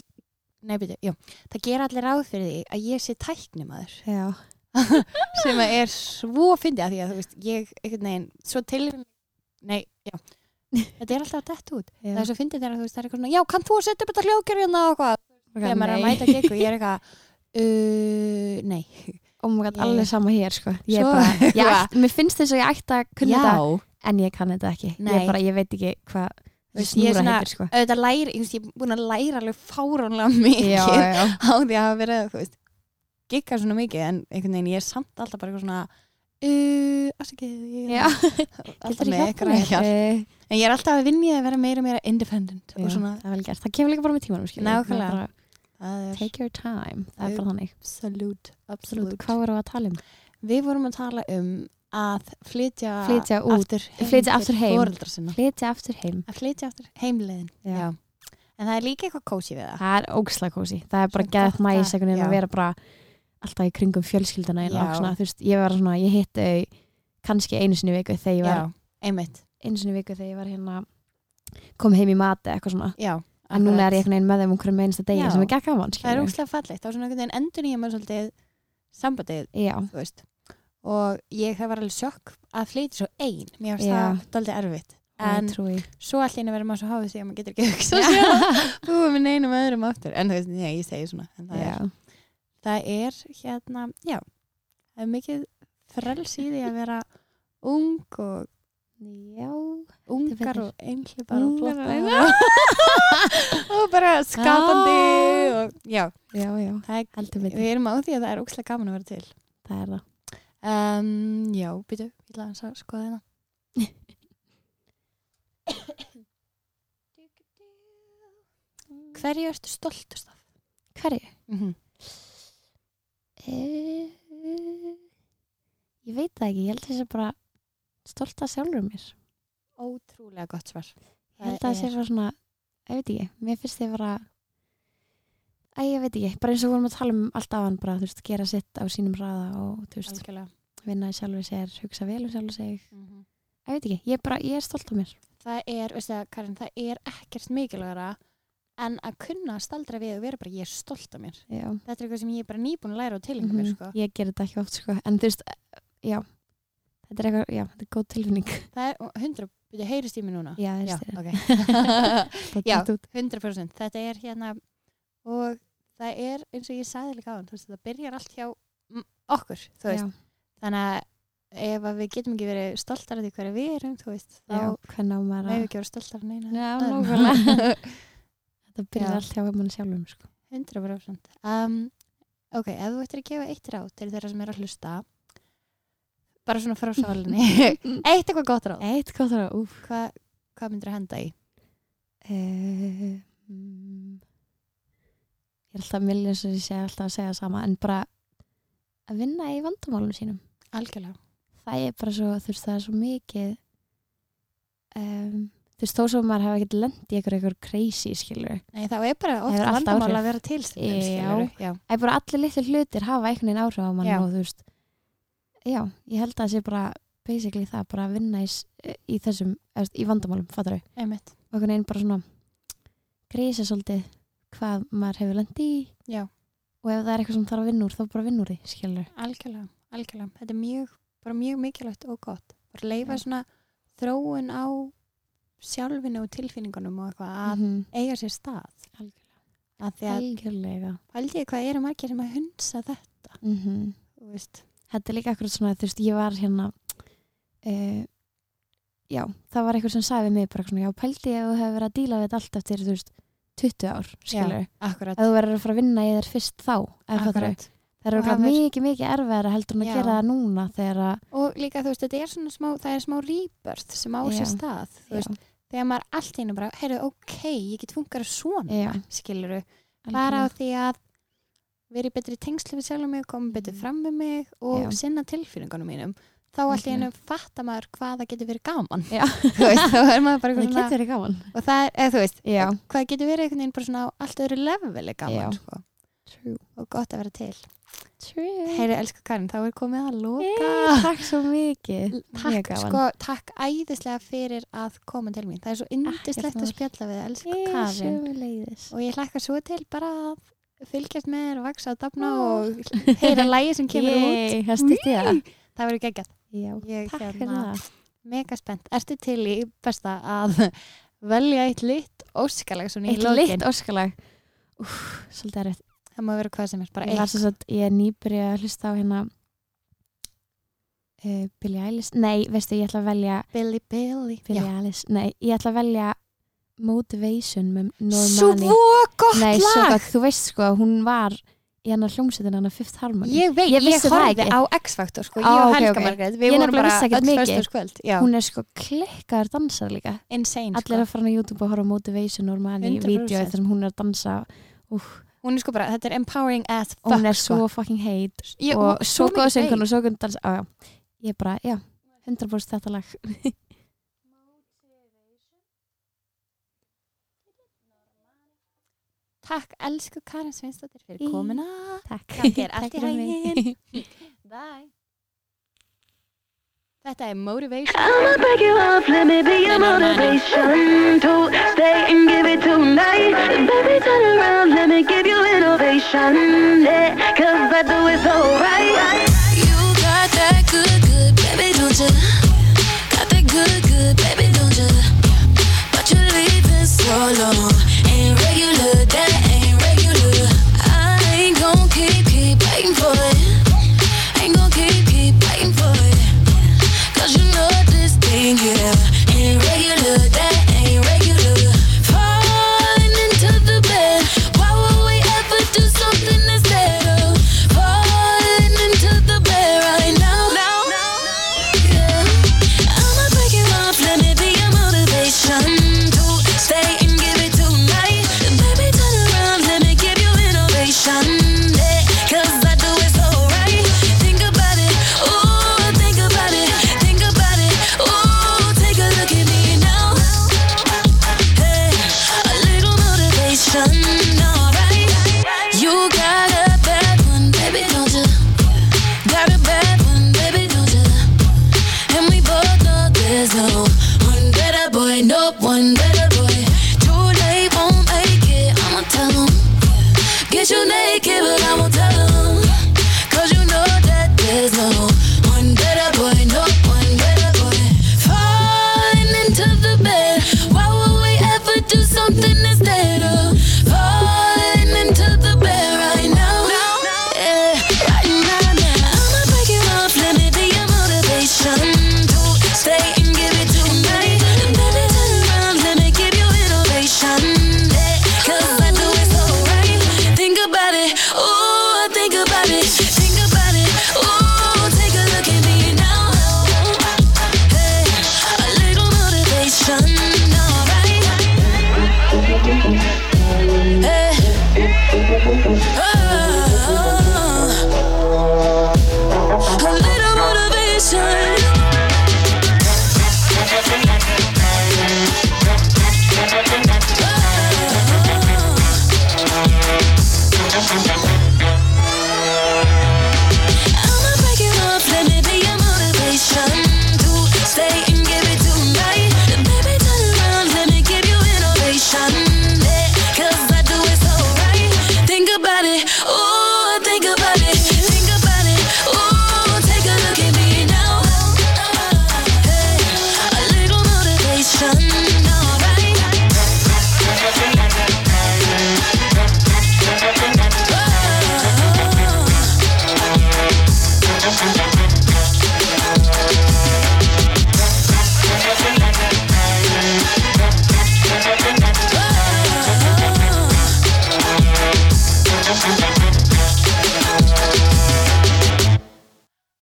[SPEAKER 1] nei, byrju, jú. það ger allir ráð fyrir því að ég sé tæknimaður
[SPEAKER 2] Já,
[SPEAKER 1] sem að er svo fyndið að því að þú veist ég, einhvern veginn, svo til nei, já, þetta er alltaf að dett út
[SPEAKER 2] já.
[SPEAKER 1] það er svo fyndið þegar þú veist, það er eitthvað svona já, kann þú að setja upp þetta hljóðgerðina og hvað þegar maður er að
[SPEAKER 2] Nei.
[SPEAKER 1] mæta gekk og ég er eitthvað uh, nei,
[SPEAKER 2] Oh my god,
[SPEAKER 1] Ég-
[SPEAKER 2] alveg sama hér, sko. Ég er
[SPEAKER 1] Svo-
[SPEAKER 2] bara, ég,
[SPEAKER 1] Já.
[SPEAKER 2] ætti- mér finnst þess að ég ætti að kunna þetta
[SPEAKER 1] já
[SPEAKER 2] en ég kann þetta ekki
[SPEAKER 1] Nei.
[SPEAKER 2] ég, bara, ég veit ekki hvað
[SPEAKER 1] Veist, ég er
[SPEAKER 2] snúra
[SPEAKER 1] svona-
[SPEAKER 2] heitir sko.
[SPEAKER 1] auðvitað læri, ég veist, ég er búin að læra alveg fáránlega mikið
[SPEAKER 2] já.
[SPEAKER 1] á því að hafa verið þú veist, gikka svona mikið en einhvern veginn ég er samt alltaf bara eitthvað svona uh, afsakið, ég
[SPEAKER 2] Já.
[SPEAKER 1] er alltaf með græjar. En ég er alltaf að vinja að vera meira og meira independent Eh, og svona,
[SPEAKER 2] það er vel gert, það kemur líka bara með tímanum skilur.
[SPEAKER 1] Nákvæmlega.
[SPEAKER 2] Það er bara,
[SPEAKER 1] það er
[SPEAKER 2] Take your time, það er
[SPEAKER 1] Au-
[SPEAKER 2] bara þannig
[SPEAKER 1] absolute,
[SPEAKER 2] Absolutt,
[SPEAKER 1] absolute.
[SPEAKER 2] hvað vorum við að tala um?
[SPEAKER 1] Við vorum að tala um að flytja,
[SPEAKER 2] Flytja út.
[SPEAKER 1] aftur heim
[SPEAKER 2] Flytja aftur heim.
[SPEAKER 1] foreldra sinna.
[SPEAKER 2] Flytja aftur heim
[SPEAKER 1] Að flytja aftur heimleiðin.
[SPEAKER 2] Já.
[SPEAKER 1] En það er líka eitthvað kósi við það.
[SPEAKER 2] Það er ógsla kósi, það er bara
[SPEAKER 1] Ah. Svo
[SPEAKER 2] gæðt
[SPEAKER 1] gott að-
[SPEAKER 2] næs einhvern veginn
[SPEAKER 1] já.
[SPEAKER 2] að vera bara alltaf í kringum fjölskylduna en
[SPEAKER 1] Já.
[SPEAKER 2] og svona, þú veist, ég var svona, ég hitt þau kannski einu sinni í viku þegar ég var
[SPEAKER 1] Já, einmitt.
[SPEAKER 2] einu sinni í viku þegar ég var hérna kom heim í mati eitthvað svona
[SPEAKER 1] Já.
[SPEAKER 2] en núna er ég
[SPEAKER 1] akkurat.
[SPEAKER 2] einhvern veginn með þeim um hverjum einasta degi
[SPEAKER 1] Já.
[SPEAKER 2] sem er gekk gaman,
[SPEAKER 1] Það er
[SPEAKER 2] skilur
[SPEAKER 1] óslega fallegt. Það er svona einhvern veginn endur nýja maður svolítið sambandið,
[SPEAKER 2] Já,
[SPEAKER 1] þú veist. Og ég það var alveg sjokk að flytja svo ein. Mér finnst
[SPEAKER 2] Já.
[SPEAKER 1] það doldið erfitt. En
[SPEAKER 2] það trúi
[SPEAKER 1] svo allir einu verður maður svo háðið sig að maður getur ekki hugsa sér að búa með neinum öðrum aftur. En þú veist, nei, ég segi svona. En það,
[SPEAKER 2] Já,
[SPEAKER 1] er, það er hérna, já, það er mikið frels í því að vera ung og
[SPEAKER 2] já
[SPEAKER 1] ungar
[SPEAKER 2] betur.
[SPEAKER 1] og einhlibar og
[SPEAKER 2] Ungar og
[SPEAKER 1] flottar og bara skapandi
[SPEAKER 2] Já.
[SPEAKER 1] og já,
[SPEAKER 2] Já, já,
[SPEAKER 1] það er
[SPEAKER 2] Ah. heldur betur
[SPEAKER 1] Við erum á því að það er ókslega gaman að vera til.
[SPEAKER 2] Það er það
[SPEAKER 1] Um, já, býtu, ég ætla aðeins að skoða hérna. Hverju ertu stoltust af?
[SPEAKER 2] Hverju?
[SPEAKER 1] Mm
[SPEAKER 2] Eh, Ég veit það ekki, ég held þess að bara stolta sjálfur mér
[SPEAKER 1] Ótrúlega gott svar.
[SPEAKER 2] Ég held að það sé bara svona, ég veit ekki, mér finnst þið bara, æ, ég veit ekki, bara eins og við vorum að tala um allt af hann bara, þú veist, gera sitt á sínum hraða og, þú veist,
[SPEAKER 1] Algjörlega.
[SPEAKER 2] vinna í sjálfur sér, hugsa vel um sjálfur sig,
[SPEAKER 1] Mm -hmm.
[SPEAKER 2] ég veit ekki, ég er bara, ég er stolt á mér.
[SPEAKER 1] Það er, veistu það, Karin, það er ekkert mikilvægara en að kunna að staldra við og vera bara, ég er stolt af mér.
[SPEAKER 2] Já,
[SPEAKER 1] Þetta er eitthvað sem ég er bara nýbúin að læra og tilenga
[SPEAKER 2] Mhm.
[SPEAKER 1] mér, sko.
[SPEAKER 2] ég ger þetta ekki oft, sko, en þú veist, eh, já, þetta er eitthvað, já, þetta er góð tilfinning.
[SPEAKER 1] Það er 100, býtu, heyrist í mér núna?
[SPEAKER 2] Já,
[SPEAKER 1] Já,
[SPEAKER 2] það
[SPEAKER 1] ok.
[SPEAKER 2] er
[SPEAKER 1] já.
[SPEAKER 2] stið.
[SPEAKER 1] 100% þetta er hérna og það er eins og ég sagði líka á hann veist, það byrjar allt hjá mm, okkur þú
[SPEAKER 2] Já,
[SPEAKER 1] veist, þannig að ef að við getum ekki verið stoltar af því hverja við erum þú veist, þá
[SPEAKER 2] já, hvernig á maður
[SPEAKER 1] meðum við
[SPEAKER 2] að,
[SPEAKER 1] ekki verið stoltar af neina
[SPEAKER 2] já,
[SPEAKER 1] öðrum.
[SPEAKER 2] nákvæmlega, þetta
[SPEAKER 1] Já.
[SPEAKER 2] byrjar allt hjá mann sjálfum, sko.
[SPEAKER 1] 100% um, ok, ef þú ættir að gefa eitt ráð til þeirra sem er að hlusta bara svona frá sálinni eitt eitthvað gott ráð
[SPEAKER 2] Eitt gott ráð, úf.
[SPEAKER 1] Hva, hvað myndir að henda í?
[SPEAKER 2] Eh, mm, Ég er alltaf milljón sem ég sé alltaf að segja sama en bara að vinna í vandamálum sínum
[SPEAKER 1] algjörlega
[SPEAKER 2] það er bara svo, þú veist, það er svo mikið um, þú veist, þó svo maður hefur ekkert lent í einhver einhver crazy, skilur
[SPEAKER 1] Nei, þá er bara oft
[SPEAKER 2] Það hefur allt
[SPEAKER 1] vandamál
[SPEAKER 2] áhrif.
[SPEAKER 1] að vera til stundum,
[SPEAKER 2] Já.
[SPEAKER 1] skilurðu. Já.
[SPEAKER 2] Það er bara allir litlu hlutir hafa einhvern veginn áhrif á mann
[SPEAKER 1] Já.
[SPEAKER 2] og þú veist Já, ég held að það sé bara basically það, bara að vinna í, s- í þessum, eða þú veist, í vandamálum, fattar þau
[SPEAKER 1] einmitt
[SPEAKER 2] og einhvern veginn bara svona grísa svolítið hvað maður hefur lendi í
[SPEAKER 1] Já.
[SPEAKER 2] og ef það er eitthvað sem þarf að vinna úr þá bara vinna úr því, skilur
[SPEAKER 1] Algjörlega, algjörlega. Þetta er mjög, bara mjög mikilvægt og gott. Bara leifa
[SPEAKER 2] Já.
[SPEAKER 1] svona þróun á sjálfinu og tilfinningunum og eitthvað að
[SPEAKER 2] -hmm.
[SPEAKER 1] eiga sér stað.
[SPEAKER 2] Mhm. algjörlega,
[SPEAKER 1] Að því að
[SPEAKER 2] algjörlega.
[SPEAKER 1] held ég hvað eru margir sem að hunsa þetta,
[SPEAKER 2] Mm
[SPEAKER 1] þú veist.
[SPEAKER 2] þetta er líka akkurat svona, þú veist, ég var hérna uh, já, það var eitthvað sem sagði við mig bara eitthvað svona, já, pældi ég að þú hefur verið að díla við þetta allt eftir, þú veist, 20 ár skilur,
[SPEAKER 1] Akkurat.
[SPEAKER 2] að þú verður að fara að vinna í þér fyrst þá, eða hvað það eru
[SPEAKER 1] Akkurat.
[SPEAKER 2] það eru
[SPEAKER 1] Og
[SPEAKER 2] örugglega
[SPEAKER 1] hafir-
[SPEAKER 2] mikið, mikið erfiðara heldur en að
[SPEAKER 1] Já.
[SPEAKER 2] gera það núna þegar að,
[SPEAKER 1] Og líka þú veist, þetta er svona smá, það er smá rýbörð sem á
[SPEAKER 2] Já.
[SPEAKER 1] sér stað. Þú veist, þegar maður allt í einu bara, heyrðu, ok, ég get fungar svona,
[SPEAKER 2] Já.
[SPEAKER 1] skiluru. bara á
[SPEAKER 2] algjörlega.
[SPEAKER 1] því að vera í betri tengslu við sjálfum mig, koma betur
[SPEAKER 2] Mhm.
[SPEAKER 1] fram með mig og
[SPEAKER 2] Já.
[SPEAKER 1] sinna tilfinningunum mínum þá allt í einu fattar maður hvað það getur verið gaman
[SPEAKER 2] Já.
[SPEAKER 1] þú veist, þá er maður bara
[SPEAKER 2] það
[SPEAKER 1] eitthvað
[SPEAKER 2] getur
[SPEAKER 1] svona
[SPEAKER 2] verið gaman
[SPEAKER 1] og það er, eða þú veist,
[SPEAKER 2] Já.
[SPEAKER 1] hvað getur verið einhvern veginn bara svona á allt öðru leveli
[SPEAKER 2] Já.
[SPEAKER 1] gaman sko.
[SPEAKER 2] True.
[SPEAKER 1] og gott að vera til
[SPEAKER 2] True.
[SPEAKER 1] Heyri, elsku Karin, þá er komið að loka
[SPEAKER 2] Hey, takk svo mikið Mjög
[SPEAKER 1] Takk,
[SPEAKER 2] gaman.
[SPEAKER 1] sko, takk æðislega fyrir að koma til mín. Það er svo yndislegt að
[SPEAKER 2] mál.
[SPEAKER 1] spjalla við, elsku
[SPEAKER 2] Hey,
[SPEAKER 1] Karin.
[SPEAKER 2] sömuleiðis.
[SPEAKER 1] og ég hlakka svo til bara að fylgjast með þér og vaksa og dafna
[SPEAKER 2] Ó.
[SPEAKER 1] og heyra lægi sem kemur
[SPEAKER 2] Yay, það stýtti það
[SPEAKER 1] út það verður geggjart,
[SPEAKER 2] Já,
[SPEAKER 1] Ég
[SPEAKER 2] takk fyrir
[SPEAKER 1] hérna-
[SPEAKER 2] það
[SPEAKER 1] mega spennt ertu til í besta að velja eitt lit óskalag svona í
[SPEAKER 2] Eitt
[SPEAKER 1] lokin
[SPEAKER 2] lit óskalag Úf, Svolítið erfitt
[SPEAKER 1] það má vera hvað sem er, bara
[SPEAKER 2] Ég, var
[SPEAKER 1] eitt
[SPEAKER 2] svo satt, ég er nýbyrjuð að hlusta á hérna uh, Billie Eilish Nei, veistu, ég ætla að velja
[SPEAKER 1] Billy Billy
[SPEAKER 2] Billie
[SPEAKER 1] Já.
[SPEAKER 2] Eilish Nei, ég ætla að velja Motivation með Normani
[SPEAKER 1] svo gott
[SPEAKER 2] Nei, svo
[SPEAKER 1] lag
[SPEAKER 2] gott, þú veist sko, hún var í hennar hljómsveitin hennar Fifth Harmony
[SPEAKER 1] Ég veit,
[SPEAKER 2] Ég
[SPEAKER 1] ég,
[SPEAKER 2] vissi það
[SPEAKER 1] horfði
[SPEAKER 2] ekki.
[SPEAKER 1] á X-Factor sko, ég
[SPEAKER 2] Á,
[SPEAKER 1] og
[SPEAKER 2] ok,
[SPEAKER 1] Helga
[SPEAKER 2] ok.
[SPEAKER 1] Margrét Við
[SPEAKER 2] Ég
[SPEAKER 1] vorum
[SPEAKER 2] nefnilega
[SPEAKER 1] bara
[SPEAKER 2] vissi
[SPEAKER 1] öll
[SPEAKER 2] ekkert mikið.
[SPEAKER 1] föstudagskvöld Já,
[SPEAKER 2] hún er sko klikkaður dansar líka
[SPEAKER 1] insane
[SPEAKER 2] allir
[SPEAKER 1] sko.
[SPEAKER 2] að fara á YouTube og horfa á Motivation og Normani
[SPEAKER 1] 100%.
[SPEAKER 2] vídeo þar sem hún er að dansa Úh,
[SPEAKER 1] Hún er sko bara, þetta er empowering as
[SPEAKER 2] og
[SPEAKER 1] fuck
[SPEAKER 2] hún er
[SPEAKER 1] sko.
[SPEAKER 2] svo fucking heit
[SPEAKER 1] Ég- hún-
[SPEAKER 2] og svo
[SPEAKER 1] mikið
[SPEAKER 2] góð
[SPEAKER 1] feit.
[SPEAKER 2] söngun og svo góð dans á, já. ég bara, já, 100% þetta lag
[SPEAKER 1] Takk, elsku Karin Sveinsdóttir
[SPEAKER 2] Í.
[SPEAKER 1] fyrir komuna
[SPEAKER 2] Takk,
[SPEAKER 1] Gangi þér allt í
[SPEAKER 2] fyrir mig.
[SPEAKER 1] haginn. Bye Þetta er motivation
[SPEAKER 3] I'ma break you off, let me be your motivation to stay and give it tonight. Baby, turn around, let me give you an ovation. Yeah, cause I do it so right.
[SPEAKER 4] You got that good, good, baby, don't you? Got that good, good, baby, don't you? But you're leaving so long.
[SPEAKER 3] Oh. Oh,